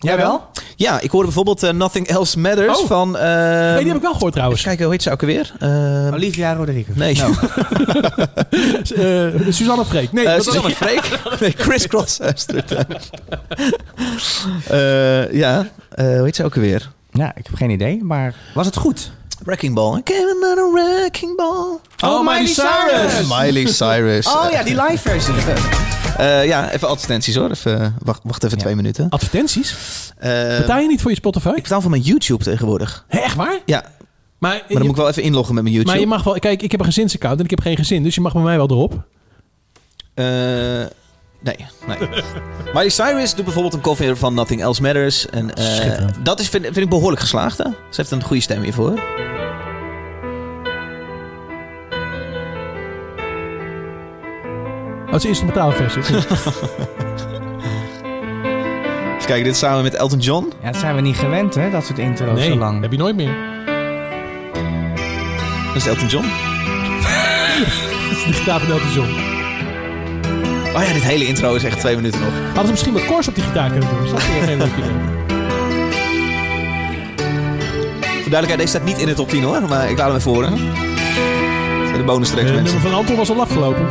Speaker 3: Jij wel?
Speaker 2: Ja, ik hoorde bijvoorbeeld eh, Nothing Else Matters
Speaker 1: Oh.
Speaker 2: van... eh,
Speaker 1: Nee, die heb ik wel gehoord trouwens.
Speaker 2: Kijk, hoe heet ze ook weer? Eh,
Speaker 3: Olivia Rodrigo.
Speaker 2: nee.
Speaker 3: Nou.
Speaker 1: Eh, Suzanne Freek. Nee,
Speaker 2: Eh,
Speaker 1: dat-
Speaker 2: Suzanne Freek? Nee, Chris Cross. Eh, ja, eh, hoe heet ze ook weer?
Speaker 3: Ja, ik heb geen idee, maar was het goed?
Speaker 2: Wrecking Ball. Ik heb een wrecking ball.
Speaker 3: Oh, Miley Cyrus!
Speaker 2: Miley Cyrus.
Speaker 3: Oh ja, die live versie.
Speaker 2: Eh, ja, even advertenties hoor. Even, eh, wacht, wacht even twee minuten.
Speaker 1: Advertenties?
Speaker 2: betaal
Speaker 1: Ah, Betaal je niet voor je Spotify?
Speaker 2: Eh. Ik betaal voor mijn YouTube tegenwoordig.
Speaker 1: Hé, echt waar?
Speaker 2: Ja, maar
Speaker 1: Maar,
Speaker 2: dan moet ik wel even inloggen met mijn YouTube.
Speaker 1: maar je mag wel... Kijk, ik heb een gezinsaccount en ik heb geen gezin. Dus je mag bij mij wel erop.
Speaker 2: Eh, nee, nee. Miley Cyrus doet bijvoorbeeld een cover van Nothing Else Matters. En, eh,
Speaker 1: Schitterend.
Speaker 2: dat is, vind, vind ik behoorlijk geslaagd. Hè? Ze heeft een goede stem hiervoor.
Speaker 1: Oh, het is de instrumentale versie.
Speaker 2: Even kijken, dit samen met Elton John.
Speaker 3: Ja, dat zijn we niet gewend, hè? Dat soort intro's
Speaker 1: nee,
Speaker 3: zo lang.
Speaker 1: heb je nooit meer.
Speaker 2: Dat is Elton John.
Speaker 1: De gitaar van Elton John.
Speaker 2: Oh ja, dit hele intro is echt twee minuten nog.
Speaker 1: Hadden ze misschien wat koers op die gitaar kunnen doen. Is dat weer geen leuk idee?
Speaker 2: Voor duidelijkheid, deze staat niet in de top 10 hoor. Maar ik laat hem even horen. Dat zijn de bonus tracks,
Speaker 1: Eh, Het
Speaker 2: mensen.
Speaker 1: nummer van Anton was al afgelopen.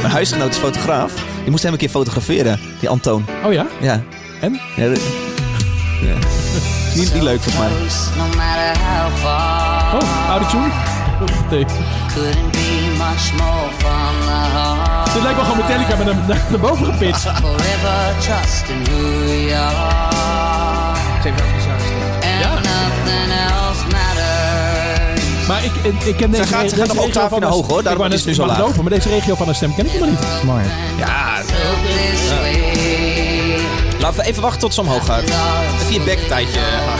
Speaker 2: Mijn huisgenoot is fotograaf. Die moest hem een keer fotograferen. Die Antoon.
Speaker 1: Oh ja?
Speaker 2: Ja.
Speaker 1: En?
Speaker 2: Ja, dat- ja. Is Niet, niet leuk volgens mij.
Speaker 4: No matter how far,
Speaker 1: Oh, oude tune. Nee.
Speaker 4: couldn't be much more from the heart.
Speaker 1: Dit lijkt wel gewoon Metallica met hem naar, naar boven gepitst.
Speaker 4: Forever trust in who you are. And nothing else matters.
Speaker 1: Maar ik, ik- ik ken deze,
Speaker 2: gaat- ze
Speaker 1: deze
Speaker 2: gaat nog
Speaker 1: regio
Speaker 2: octaven
Speaker 1: van
Speaker 2: naar
Speaker 1: haar-
Speaker 2: hoog, hoor.
Speaker 1: Ik
Speaker 2: Daarom
Speaker 1: wou
Speaker 2: is
Speaker 1: net-
Speaker 2: het nu
Speaker 1: ik
Speaker 2: zo
Speaker 1: mag
Speaker 2: laag.
Speaker 1: open, maar deze regio van haar stem ken ik helemaal niet.
Speaker 3: Mooi.
Speaker 2: Ja,
Speaker 4: Look this way.
Speaker 2: laten we even wachten tot ze omhoog gaat. Even je backtijdje. eh,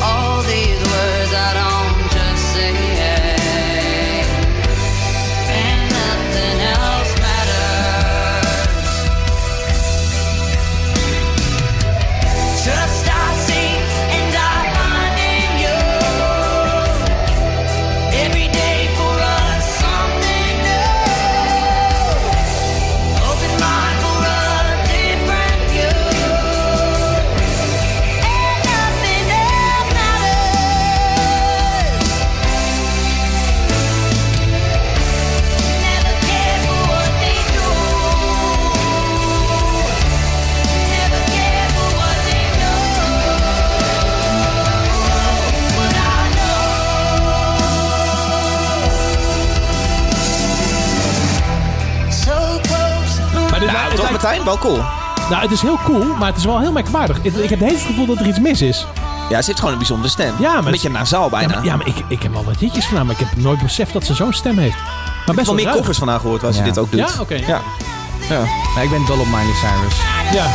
Speaker 4: All these words I don't just say. And nothing else matters. Trust I see and I find in you. Every day for us something new. Open mind for a different view. And nothing else matters. Never care for what they do. Never care for what they know. What I know. So close.
Speaker 1: Maar dit,
Speaker 2: Nou,
Speaker 1: het,
Speaker 2: toch
Speaker 1: lijkt-
Speaker 2: Martijn? Wel cool.
Speaker 1: nou, het is heel cool, maar het is wel heel merkwaardig. Ik, ik heb het hele gevoel dat er iets mis is.
Speaker 2: Ja, ze heeft gewoon een bijzondere stem.
Speaker 1: Ja, maar
Speaker 2: een beetje nasaal
Speaker 1: Ja,
Speaker 2: bijna.
Speaker 1: maar, ja, maar ik, ik heb al wat hitjes van haar, maar ik heb nooit beseft dat ze zo'n stem heeft.
Speaker 2: ik heb wel meer koffers vandaag gehoord waar ze
Speaker 13: Ja.
Speaker 2: dit ook doet.
Speaker 13: Ja? Oké.
Speaker 2: Ja. Ja.
Speaker 13: Maar ik ben dol op Miley Cyrus.
Speaker 1: Ja.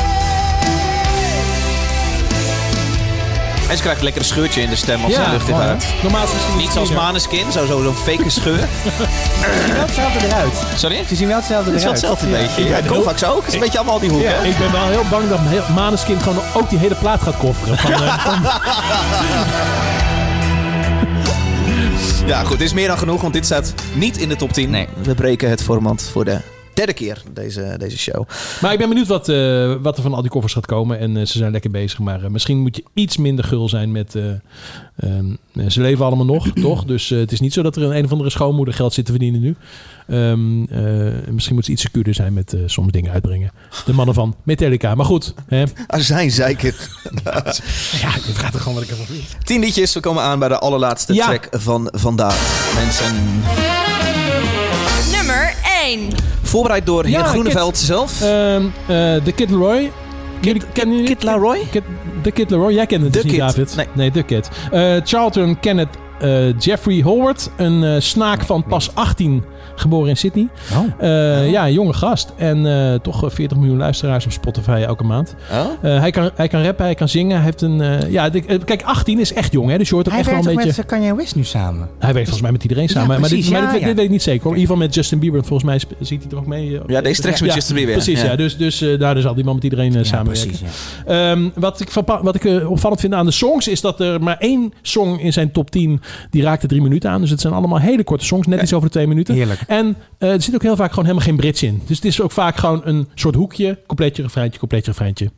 Speaker 2: En ze krijgt lekker een scheurtje in de stem als
Speaker 1: Ja,
Speaker 2: ze lucht in
Speaker 1: mooi,
Speaker 2: haar.
Speaker 1: hè? Normaal gezien
Speaker 2: Niet zoals Maneskin, zo- zo- zo'n fake scheur.
Speaker 3: hetzelfde eruit.
Speaker 2: Sorry?
Speaker 3: Ze zien wel hetzelfde
Speaker 2: Het
Speaker 3: eruit.
Speaker 2: is wel hetzelfde beetje. Ja, Kovacs ook. Het is een beetje allemaal die hoeken.
Speaker 1: Ja, ik ben wel heel bang dat heel, Maneskin gewoon ook die hele plaat gaat kofferen. Van, eh, van-
Speaker 2: Ja, goed. Het is meer dan genoeg, want dit staat niet in de top 10. Nee. We breken het format voor de derde keer, deze, deze show.
Speaker 1: Maar ik ben benieuwd wat, eh, wat er van al die koffers gaat komen. En eh, ze zijn lekker bezig. Maar eh, misschien moet je iets minder gul zijn met... eh, ehm, eh, ze leven allemaal nog, toch? Dus eh, het is niet zo dat er een, een of andere schoonmoeder geld zit te verdienen nu. Ehm, eh, misschien moet ze iets secuurder zijn met eh, soms dingen uitbrengen. De mannen van Metallica. Maar goed. Hè?
Speaker 2: Azijn, zeker.
Speaker 1: ja, je vraagt er gewoon wat ik ervan vind.
Speaker 2: Tien liedjes, we komen aan bij de allerlaatste track van vandaag. Mensen,
Speaker 4: Nummer 1.
Speaker 2: voorbereid door heer
Speaker 1: Ja,
Speaker 2: Groeneveld
Speaker 1: Kit.
Speaker 2: zelf.
Speaker 1: Ehm, eh, de Kid Leroy. Jullie kennen jullie? Kid
Speaker 2: Leroy?
Speaker 1: de Kid Leroy. Jij kent het dus niet, David. Nee. de Kid. Eh, Charlton Kenneth eh, Jeffrey Howard. Een eh, snaak van pas 18, geboren in Sydney.
Speaker 3: Oh.
Speaker 1: Eh, ja, een jonge gast. En eh, toch eh, 40 miljoen luisteraars op Spotify elke maand.
Speaker 2: Oh?
Speaker 1: Eh, hij, kan, hij kan rappen, hij kan zingen. Hij heeft een, eh, ja, de- eh, kijk, 18 is echt jong. Hè? Dus je hoort ook
Speaker 3: Hij
Speaker 1: echt wel
Speaker 3: werkt
Speaker 1: een
Speaker 3: ook
Speaker 1: beetje...
Speaker 3: met eh, Kanye West nu samen.
Speaker 1: Hij werkt volgens mij met iedereen samen. maar dit,
Speaker 3: precies,
Speaker 1: maar
Speaker 3: ja,
Speaker 1: dit, dit
Speaker 3: ja.
Speaker 1: weet ik niet zeker hoor. In ieder geval met Justin Bieber. Volgens mij sp- ziet hij er ook mee. eh,
Speaker 2: Ja, deze tracks met Justin Bieber,
Speaker 1: Precies,
Speaker 2: ja.
Speaker 1: ja. Dus, dus eh, daar zal die man met iedereen eh, samenwerken. Ehm, wat ik, verpa- wat ik eh, opvallend vind aan de songs... is dat er maar één song in zijn top 10... die raakte drie minuten aan. Dus het zijn allemaal hele korte songs. Net iets over de twee minuten.
Speaker 3: Heerlijk.
Speaker 1: En eh, er zit ook heel vaak gewoon helemaal geen Brits in. Dus het is ook vaak gewoon een soort hoekje. Compleetje refreintje, compleetje refreintje.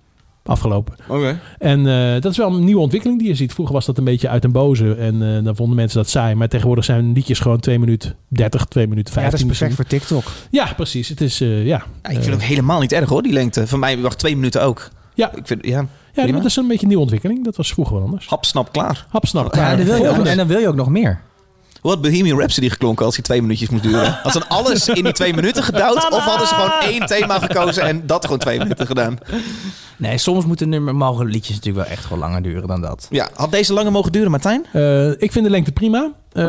Speaker 1: Afgelopen.
Speaker 2: Oké.
Speaker 1: En eh, dat is wel een nieuwe ontwikkeling die je ziet. Vroeger was dat een beetje uit een boze. En eh, dan vonden mensen dat saai. Maar tegenwoordig zijn liedjes gewoon 2 minuten 30, 2 minuten 15.
Speaker 3: Ja, dat is perfect
Speaker 1: misschien.
Speaker 3: voor TikTok.
Speaker 1: Ja, precies. Het is, eh, ja.
Speaker 2: Ja, ik vind het ook helemaal niet erg hoor, die lengte. Van mij wacht twee minuten ook.
Speaker 1: Ja.
Speaker 2: Ik vind, ja,
Speaker 1: ja,
Speaker 2: prima.
Speaker 1: dat is een beetje een nieuwe ontwikkeling. Dat was vroeger wel anders.
Speaker 2: Hap, snap, klaar.
Speaker 1: Hap, snap,
Speaker 2: Ja,
Speaker 1: klaar.
Speaker 2: dat wil je
Speaker 1: Volgende.
Speaker 2: ook. En
Speaker 3: dan wil je ook nog meer.
Speaker 2: Hoe had Bohemian Rhapsody geklonken als die twee minuutjes moest duren? Had ze dan alles in die twee minuten gedouwd? Of hadden ze gewoon één thema gekozen en dat gewoon twee minuten gedaan?
Speaker 3: Nee, soms moeten nummer, mogen liedjes natuurlijk wel echt wel langer duren dan dat.
Speaker 2: Ja, had deze langer mogen duren, Martijn?
Speaker 1: Eh, ik vind de lengte prima. Eh,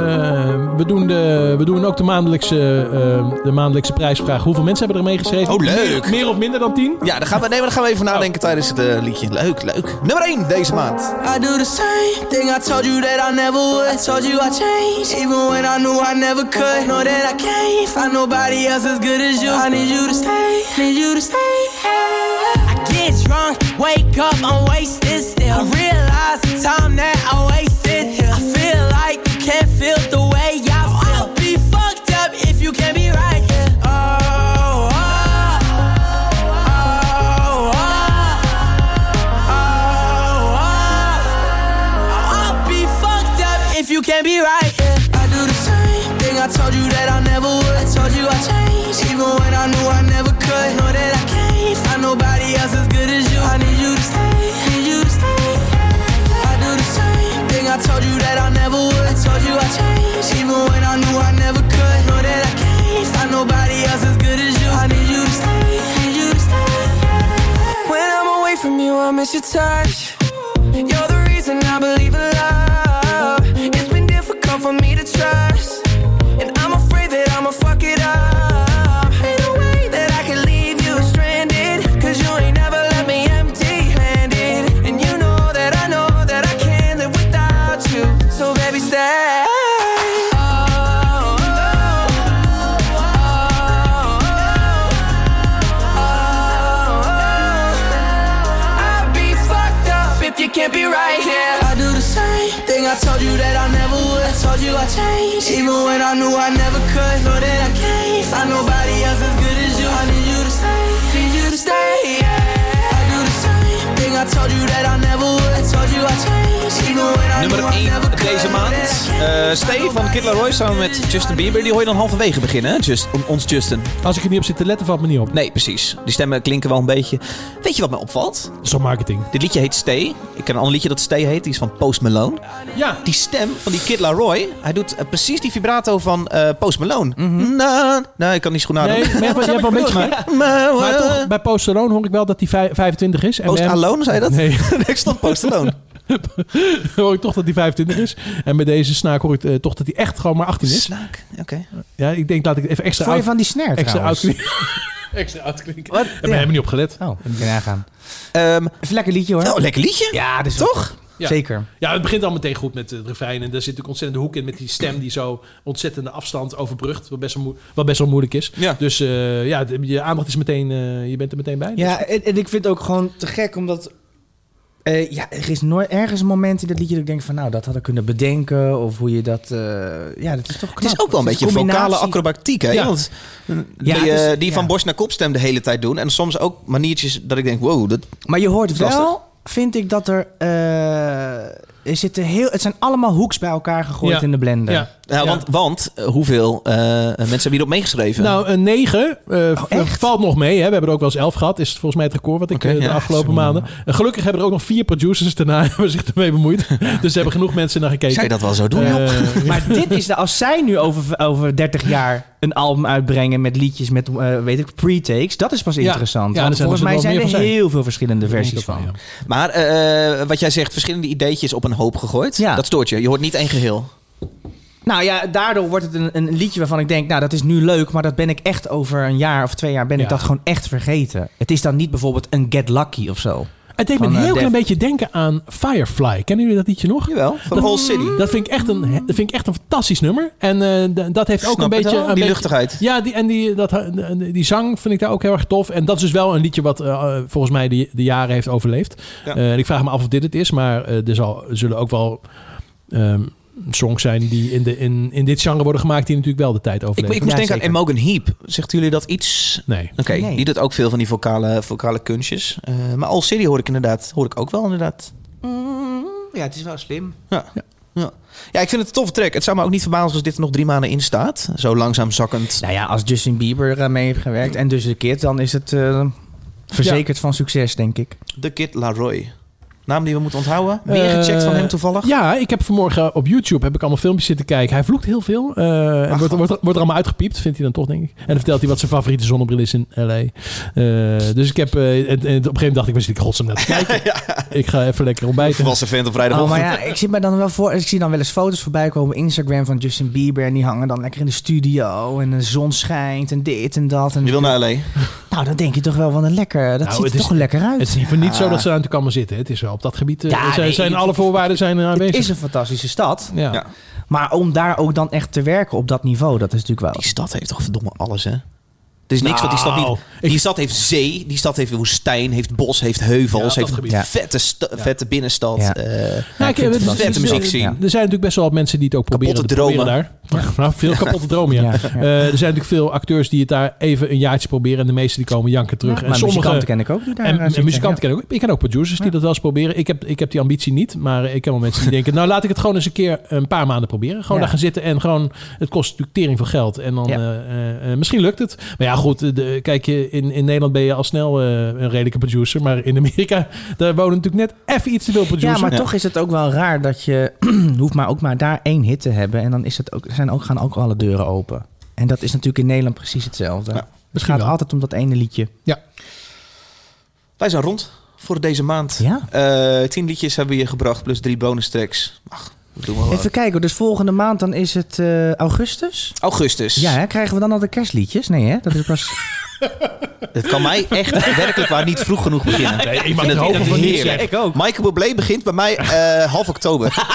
Speaker 1: we, doen de, we doen ook de maandelijkse, eh, de maandelijkse prijsvraag. Hoeveel mensen hebben er mee geschreven?
Speaker 2: Oh, leuk.
Speaker 1: Meer, meer of minder dan 10?
Speaker 2: Ja, daar gaan we, nee, maar daar gaan we even nadenken tijdens het eh, liedje. Leuk, leuk. Nummer 1 deze maand.
Speaker 5: I do the same thing I told you that I never would. I told you I changed, even when I knew I never could. Know that I can't find nobody else as good as you. I need you to stay, need you to stay. I get drunk, wake up, I'm wasted still. I realize the time that I wasted here. I feel like you can't feel the way I feel. Oh, I'll be fucked up if you can't be right here. Oh, oh, oh, oh. Oh, I'll be fucked up if you can't be right. Yeah. I do the same thing I told you that I never would. I told you I changed, even when I knew I never could. Know that I can't find nobody else as good as you. I need you to stay, need you to stay. I do the same thing I told you that I never would. I told you I changed, even when I knew I never could. Know that I can't find nobody else as good as you. I need you to stay, need you to stay. When I'm away from you, I miss your touch. You're the reason I believe in love. It's been difficult for me to trust, and I'm afraid that I'ma fuck it up. Ain't no way that I can leave you stranded, 'cause you ain't never left me empty-handed. And you know that I know that I can't live without you, so baby stay. Oh, oh, I'll be fucked up if you can't be right here. I do the same thing I told you that I never would. I told you I changed, even when I knew I never could. Know that I can't find nobody else as good as you. I need you to stay, need you to stay. Yeah. I do the same thing I told you that I never would. I told you I changed, even when I
Speaker 2: Nummer
Speaker 5: knew I
Speaker 2: 1
Speaker 5: never could.
Speaker 2: deze maand. Eh Steve van Kid Laroi samen met Justin Bieber. Die hoor je dan halverwege beginnen, hè? Just, on- ons Justin.
Speaker 1: Als ik er niet op zit te letten, valt me niet op.
Speaker 2: Nee, precies. Die stemmen klinken wel een beetje. Weet je wat me opvalt?
Speaker 1: Zo'n marketing.
Speaker 2: Dit liedje heet Stay. Ik ken een ander liedje dat Stay heet. Die is van Post Malone.
Speaker 1: Ja.
Speaker 2: Die stem van die Kid Laroi. Hij doet eh, precies die vibrato van eh, Post Malone. Na- nou, ik kan niet zo goed nadoen.
Speaker 1: Nee, maar je hebt wel- je hebt wel een beetje gelijk.
Speaker 2: Maar, eh,
Speaker 1: Maar toch, bij Post Alone hoor ik wel dat hij vij- 25 is. En
Speaker 2: Post
Speaker 1: bij hem-
Speaker 2: Alone, zei je dat?
Speaker 1: Nee.
Speaker 2: ik stond Post Alone.
Speaker 1: hoor ik toch dat hij 25 is. En bij deze snaak hoor ik eh, toch dat hij echt gewoon maar 18 is.
Speaker 2: Snaak? Oké.
Speaker 1: Ja, ik denk dat ik even extra
Speaker 3: Vond je
Speaker 1: oud-
Speaker 3: van die snare
Speaker 1: Extra
Speaker 3: trouwens?
Speaker 1: oud Extra oud klinken. Wat? Daar ben je niet op gelet.
Speaker 3: Oh, moet je nagaan.
Speaker 2: Even
Speaker 3: lekker liedje hoor.
Speaker 2: Ehm, Oh, lekker liedje?
Speaker 3: Ja, dat is wel
Speaker 2: Toch?
Speaker 3: goed. Zeker.
Speaker 1: Ja, het begint al meteen goed met het refrein. En daar zit natuurlijk ontzettende hoek in met die stem die zo ontzettende afstand overbrugt. Wat best wel, moe- wat best wel moeilijk is. Dus eh, ja, de- je aandacht is meteen, eh, je bent er meteen bij.
Speaker 3: Ja, en, en ik vind het ook gewoon te gek, omdat... eh, ja, er is nooit ergens een moment in dat liedje dat ik denk van... nou, dat had ik kunnen bedenken, of hoe je dat... eh, ja, dat is toch knap.
Speaker 2: Het is ook wel een
Speaker 3: nou, Het
Speaker 2: beetje
Speaker 3: combinatie.
Speaker 2: vocale acrobatiek, hè?
Speaker 3: Ja.
Speaker 2: Want die,
Speaker 3: Ja, het
Speaker 2: eh,
Speaker 3: is-
Speaker 2: die
Speaker 3: ja.
Speaker 2: van borst naar kopstem de hele tijd doen. En soms ook maniertjes dat ik denk, wow, dat
Speaker 3: Maar je hoort
Speaker 2: Dat is
Speaker 3: wel,
Speaker 2: lastig.
Speaker 3: vind ik, dat er... eh, er zitten heel, het zijn allemaal hoeks bij elkaar gegooid in de blender.
Speaker 2: Ja. want, want eh, hoeveel eh, mensen hebben hierop meegeschreven?
Speaker 1: Nou, een 9
Speaker 3: Oh,
Speaker 1: valt nog mee. Hè. We hebben er ook wel eens 11 gehad. Is volgens mij het record wat ik eh, de
Speaker 2: ja.
Speaker 1: afgelopen maanden. En gelukkig hebben er ook nog vier producers daarna hebben zich ermee bemoeid. dus er hebben genoeg mensen naar gekeken.
Speaker 2: Zou je dat wel zo doen,
Speaker 1: Eh,
Speaker 2: Job?
Speaker 3: Maar dit is de, als zij nu over, over 30 jaar een album uitbrengen met liedjes met, eh, weet ik, pre-takes, dat is pas
Speaker 2: Ja.
Speaker 3: interessant.
Speaker 2: Ja,
Speaker 3: Want
Speaker 2: er zijn
Speaker 3: volgens
Speaker 2: er
Speaker 3: mij
Speaker 2: wel
Speaker 3: zijn
Speaker 2: meer
Speaker 3: er
Speaker 2: van zijn.
Speaker 3: heel veel verschillende versies van.
Speaker 2: Maar eh, wat jij zegt, verschillende ideetjes op een hoop gegooid. Dat stoort je. Je hoort niet één geheel.
Speaker 3: Nou ja, daardoor wordt het een, een liedje waarvan ik denk, nou dat is nu leuk, maar dat ben ik echt over een jaar of twee jaar ben ik
Speaker 1: Ja.
Speaker 3: dat gewoon echt vergeten. Het is dan niet bijvoorbeeld een Get Lucky of zo.
Speaker 1: Het deed me
Speaker 3: Van,
Speaker 1: een
Speaker 3: eh,
Speaker 1: heel klein
Speaker 3: Def.
Speaker 1: beetje denken aan Firefly. Kennen jullie dat liedje nog?
Speaker 2: Jawel, van Whole City.
Speaker 1: Dat vind ik echt een, dat vind ik echt een fantastisch nummer. En eh, d- dat heeft ook
Speaker 2: Snap
Speaker 1: een
Speaker 2: het
Speaker 1: beetje...
Speaker 2: wel,
Speaker 1: een
Speaker 2: die
Speaker 1: beetje-
Speaker 2: luchtigheid.
Speaker 1: Ja, die, en die, dat, eh, die zang vind ik daar ook heel erg tof. En dat is dus wel een liedje wat eh, volgens mij de, de jaren heeft overleefd.
Speaker 2: Ja.
Speaker 1: Eh, en ik vraag me af of dit het is. Maar eh, er zal, zullen ook wel... ehm, songs zijn die in, de, in, in dit genre worden gemaakt... die natuurlijk wel de tijd
Speaker 2: Ik,
Speaker 1: overleven.
Speaker 2: ik moest denken aan Emogen Heap. Zegt jullie dat iets?
Speaker 1: Nee.
Speaker 2: Oké, die doet ook veel van die vocale, vocale kunstjes. Eh, maar All City hoor ik inderdaad. Hoor ik ook wel inderdaad.
Speaker 3: Ja, het is wel slim.
Speaker 2: Ja. Ja. ja, ik vind het een toffe track. Het zou me ook niet verbazen als dit er nog drie maanden in staat. Zo langzaam zakkend.
Speaker 3: Nou ja, als Justin Bieber eh, mee heeft gewerkt en dus de Kid, dan is het eh, verzekerd van succes, denk ik.
Speaker 2: The Kid Laroi. Naam die we moeten onthouden. Meer gecheckt van hem toevallig?
Speaker 1: Eh, Ja, ik heb vanmorgen op YouTube heb ik allemaal filmpjes zitten kijken. Hij vloekt heel veel. eh, en wordt, wordt, wordt er allemaal uitgepiept, vindt hij dan toch, denk ik. En dan vertelt hij wat zijn favoriete zonnebril is in L.A. Eh, dus ik heb... eh, en- en op een gegeven moment dacht ik, waar zit ik godsnaam naar te kijken? Ik ga even lekker ontbijten.
Speaker 2: Was een vent op
Speaker 3: Oh, maar
Speaker 2: vrijdagochtend.
Speaker 3: ja, ik, zit me dan wel voor, ik zie dan wel eens foto's voorbij komen op Instagram van Justin Bieber. En die hangen dan lekker in de studio. En de zon schijnt en dit en dat. En
Speaker 2: Je wil naar L.A.
Speaker 3: Nou, dan denk je toch wel, wat een lekker. Dat
Speaker 1: Nou,
Speaker 3: ziet
Speaker 1: het
Speaker 3: er
Speaker 1: is-
Speaker 3: toch lekker uit.
Speaker 1: Het is niet voor niet zo dat ze aan te komen zitten. Het is wel op dat gebied. eh,
Speaker 3: Ja,
Speaker 1: zijn,
Speaker 3: nee,
Speaker 1: zijn
Speaker 3: het-
Speaker 1: alle voorwaarden zijn er aanwezig.
Speaker 3: Het is een fantastische stad.
Speaker 1: Ja.
Speaker 3: Maar om daar ook dan echt te werken op dat niveau, dat is natuurlijk wel... Die
Speaker 2: stad heeft toch verdomme alles, hè? Er is niks wat die stad
Speaker 1: Nou,
Speaker 2: niet... Die stad heeft zee, die stad heeft woestijn, heeft bos, heeft heuvels,
Speaker 1: Ja, dat
Speaker 2: heeft
Speaker 1: gebied.
Speaker 2: een vette, sta- vette binnenstad. eh,
Speaker 1: Nou, ik- het- het-
Speaker 2: vette
Speaker 1: het-
Speaker 2: muziek
Speaker 1: het-
Speaker 2: zien.
Speaker 1: Er zijn natuurlijk best wel wat mensen die het ook proberen
Speaker 2: Kapotte
Speaker 1: te proberen
Speaker 2: dromen.
Speaker 1: daar. Nou, veel
Speaker 2: Ja.
Speaker 1: kapotte dromen, ja.
Speaker 2: Ja, ja.
Speaker 1: Eh, er zijn natuurlijk veel acteurs die het daar even een jaartje proberen. En de meeste die komen janken terug.
Speaker 3: Ja,
Speaker 1: en
Speaker 3: maar
Speaker 1: sommige,
Speaker 3: muzikanten ken ik ook die daar,
Speaker 1: En,
Speaker 3: eh, zitten,
Speaker 1: en muzikanten ken ik ook. Ik ken ook producers die dat wel eens proberen. Ik heb, ik heb die ambitie niet. Maar ik ken wel mensen die denken... Nou, laat ik het gewoon eens een keer een paar maanden proberen. Gewoon
Speaker 3: Ja.
Speaker 1: daar gaan zitten en gewoon... Het kost natuurlijk tering veel geld. En dan... eh, eh, eh, misschien lukt het. Maar ja, goed. eh, De, kijk, je, in, in Nederland ben je al snel eh, een redelijke producer. Maar in Amerika... Daar wonen natuurlijk net even iets te veel producers.
Speaker 3: Ja, maar toch is het ook wel raar dat je hoeft maar ook maar daar één hit te hebben. En dan is het ook, zijn ook, gaan ook alle deuren open. En dat is natuurlijk in Nederland precies hetzelfde. het gaat altijd om dat ene liedje.
Speaker 1: Ja.
Speaker 2: Wij zijn rond voor deze maand. Eh, tien liedjes hebben we hier gebracht, plus drie bonus tracks. Ach, dat doen we wel.
Speaker 3: Even kijken, hoor. dus volgende maand dan is het eh, augustus?
Speaker 2: Augustus.
Speaker 3: Ja, hè? krijgen we dan al de kerstliedjes? Nee hè, dat is pas...
Speaker 2: Het kan mij echt werkelijk waar niet vroeg genoeg beginnen.
Speaker 1: Nee, ik mag
Speaker 2: vind
Speaker 1: het hopen
Speaker 2: vind
Speaker 1: van niet,
Speaker 2: heerlijk.
Speaker 1: zeg.
Speaker 3: Ik ook.
Speaker 2: Michael Bublé begint bij mij eh, half oktober.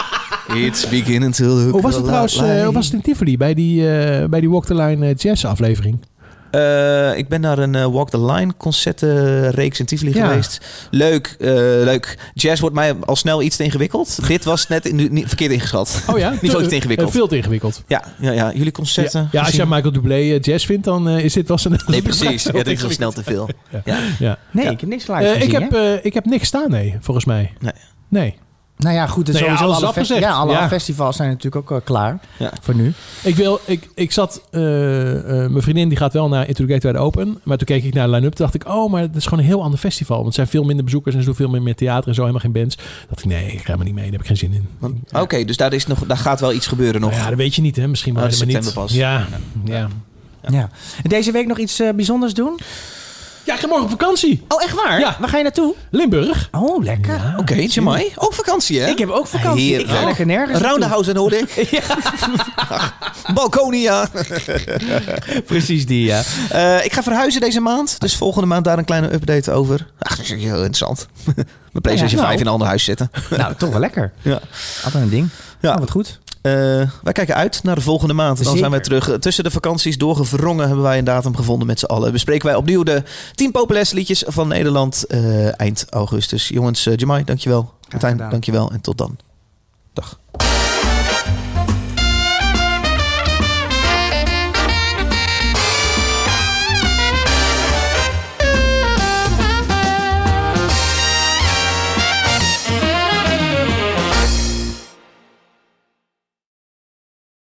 Speaker 2: It's beginning to look
Speaker 1: Hoe was het trouwens
Speaker 2: like-
Speaker 1: eh, hoe was het in Tivoli bij die, eh, bij die Walk the Line eh, Jazz aflevering?
Speaker 2: Eh, ik ben naar een eh, Walk the Line concertenreeks in Tivoli
Speaker 1: Ja.
Speaker 2: geweest. Leuk, eh, leuk. Jazz wordt mij al snel iets te ingewikkeld. Dit was net in, niet, verkeerd ingeschat.
Speaker 1: Oh ja?
Speaker 2: niet zo iets te ingewikkeld.
Speaker 1: Eh, veel te ingewikkeld.
Speaker 2: Ja, ja, ja, jullie concerten.
Speaker 1: Ja, ja, als jij
Speaker 2: gezien?
Speaker 1: Michael Dublé eh, jazz vindt, dan eh, is dit wel zijn...
Speaker 2: Nee, precies. Ja, dit is al snel te veel. Ja.
Speaker 1: Ja.
Speaker 3: Nee, ik heb niks live
Speaker 1: Eh, ik,
Speaker 3: gezien,
Speaker 1: heb, eh, ik heb niks staan, nee, volgens mij.
Speaker 2: Nee.
Speaker 1: Nee.
Speaker 3: Nou ja, goed, dus
Speaker 1: Nee, ja,
Speaker 3: sowieso
Speaker 1: alles
Speaker 3: alle, festi-
Speaker 1: afgezegd.
Speaker 3: ja, alle
Speaker 1: Ja.
Speaker 3: festivals zijn natuurlijk ook eh, klaar
Speaker 2: Ja.
Speaker 3: voor nu.
Speaker 1: Ik, wil, ik, ik zat... eh, eh, mijn vriendin die gaat wel naar Into the Gateway Open. Maar toen keek ik naar de line-up. Toen dacht ik, oh, maar het is gewoon een heel ander festival. Want er zijn veel minder bezoekers en zo veel meer, meer theater en zo. Helemaal geen bands. dacht ik, nee, ik ga maar niet mee. Daar heb ik geen zin in.
Speaker 2: Oké, dus daar, is nog, daar gaat wel iets gebeuren nog.
Speaker 1: Ja, dat weet je niet, hè. Misschien wel
Speaker 2: Oh,
Speaker 1: helemaal niet.
Speaker 2: september pas.
Speaker 1: Ja, ja.
Speaker 3: Ja. En Deze week nog iets eh, bijzonders doen?
Speaker 1: Ja, ik ga morgen op vakantie.
Speaker 3: Oh, echt waar?
Speaker 1: Ja.
Speaker 3: Waar ga je naartoe?
Speaker 1: Limburg.
Speaker 3: Oh, lekker. Oké,
Speaker 2: Oké, Jamai. Ook vakantie, hè?
Speaker 3: Ik heb ook vakantie. Ik ga lekker nergens naartoe.
Speaker 2: Roundhouse en Hoordijk. Balkonia.
Speaker 3: Precies die, ja.
Speaker 2: Eh, ik ga verhuizen deze maand. Dus volgende maand daar een kleine update over. Ach, dat is heel interessant. Mijn PlayStation
Speaker 3: Ja, nou.
Speaker 2: 5 in een ander huis zetten.
Speaker 3: Nou, toch wel lekker.
Speaker 2: Ja.
Speaker 3: Altijd een ding. Oh,
Speaker 2: Ja.
Speaker 3: wat goed.
Speaker 2: Eh, wij kijken uit naar de volgende maand. Dan
Speaker 3: Zeker.
Speaker 2: zijn wij terug. Tussen de vakanties doorgevrongen hebben wij een datum gevonden met z'n allen. Bespreken wij opnieuw de 10 populairste liedjes van Nederland eh, eind augustus. Jongens, eh, Jamai, dankjewel. Martijn,
Speaker 3: gedaan.
Speaker 2: dankjewel. En tot dan. Dag.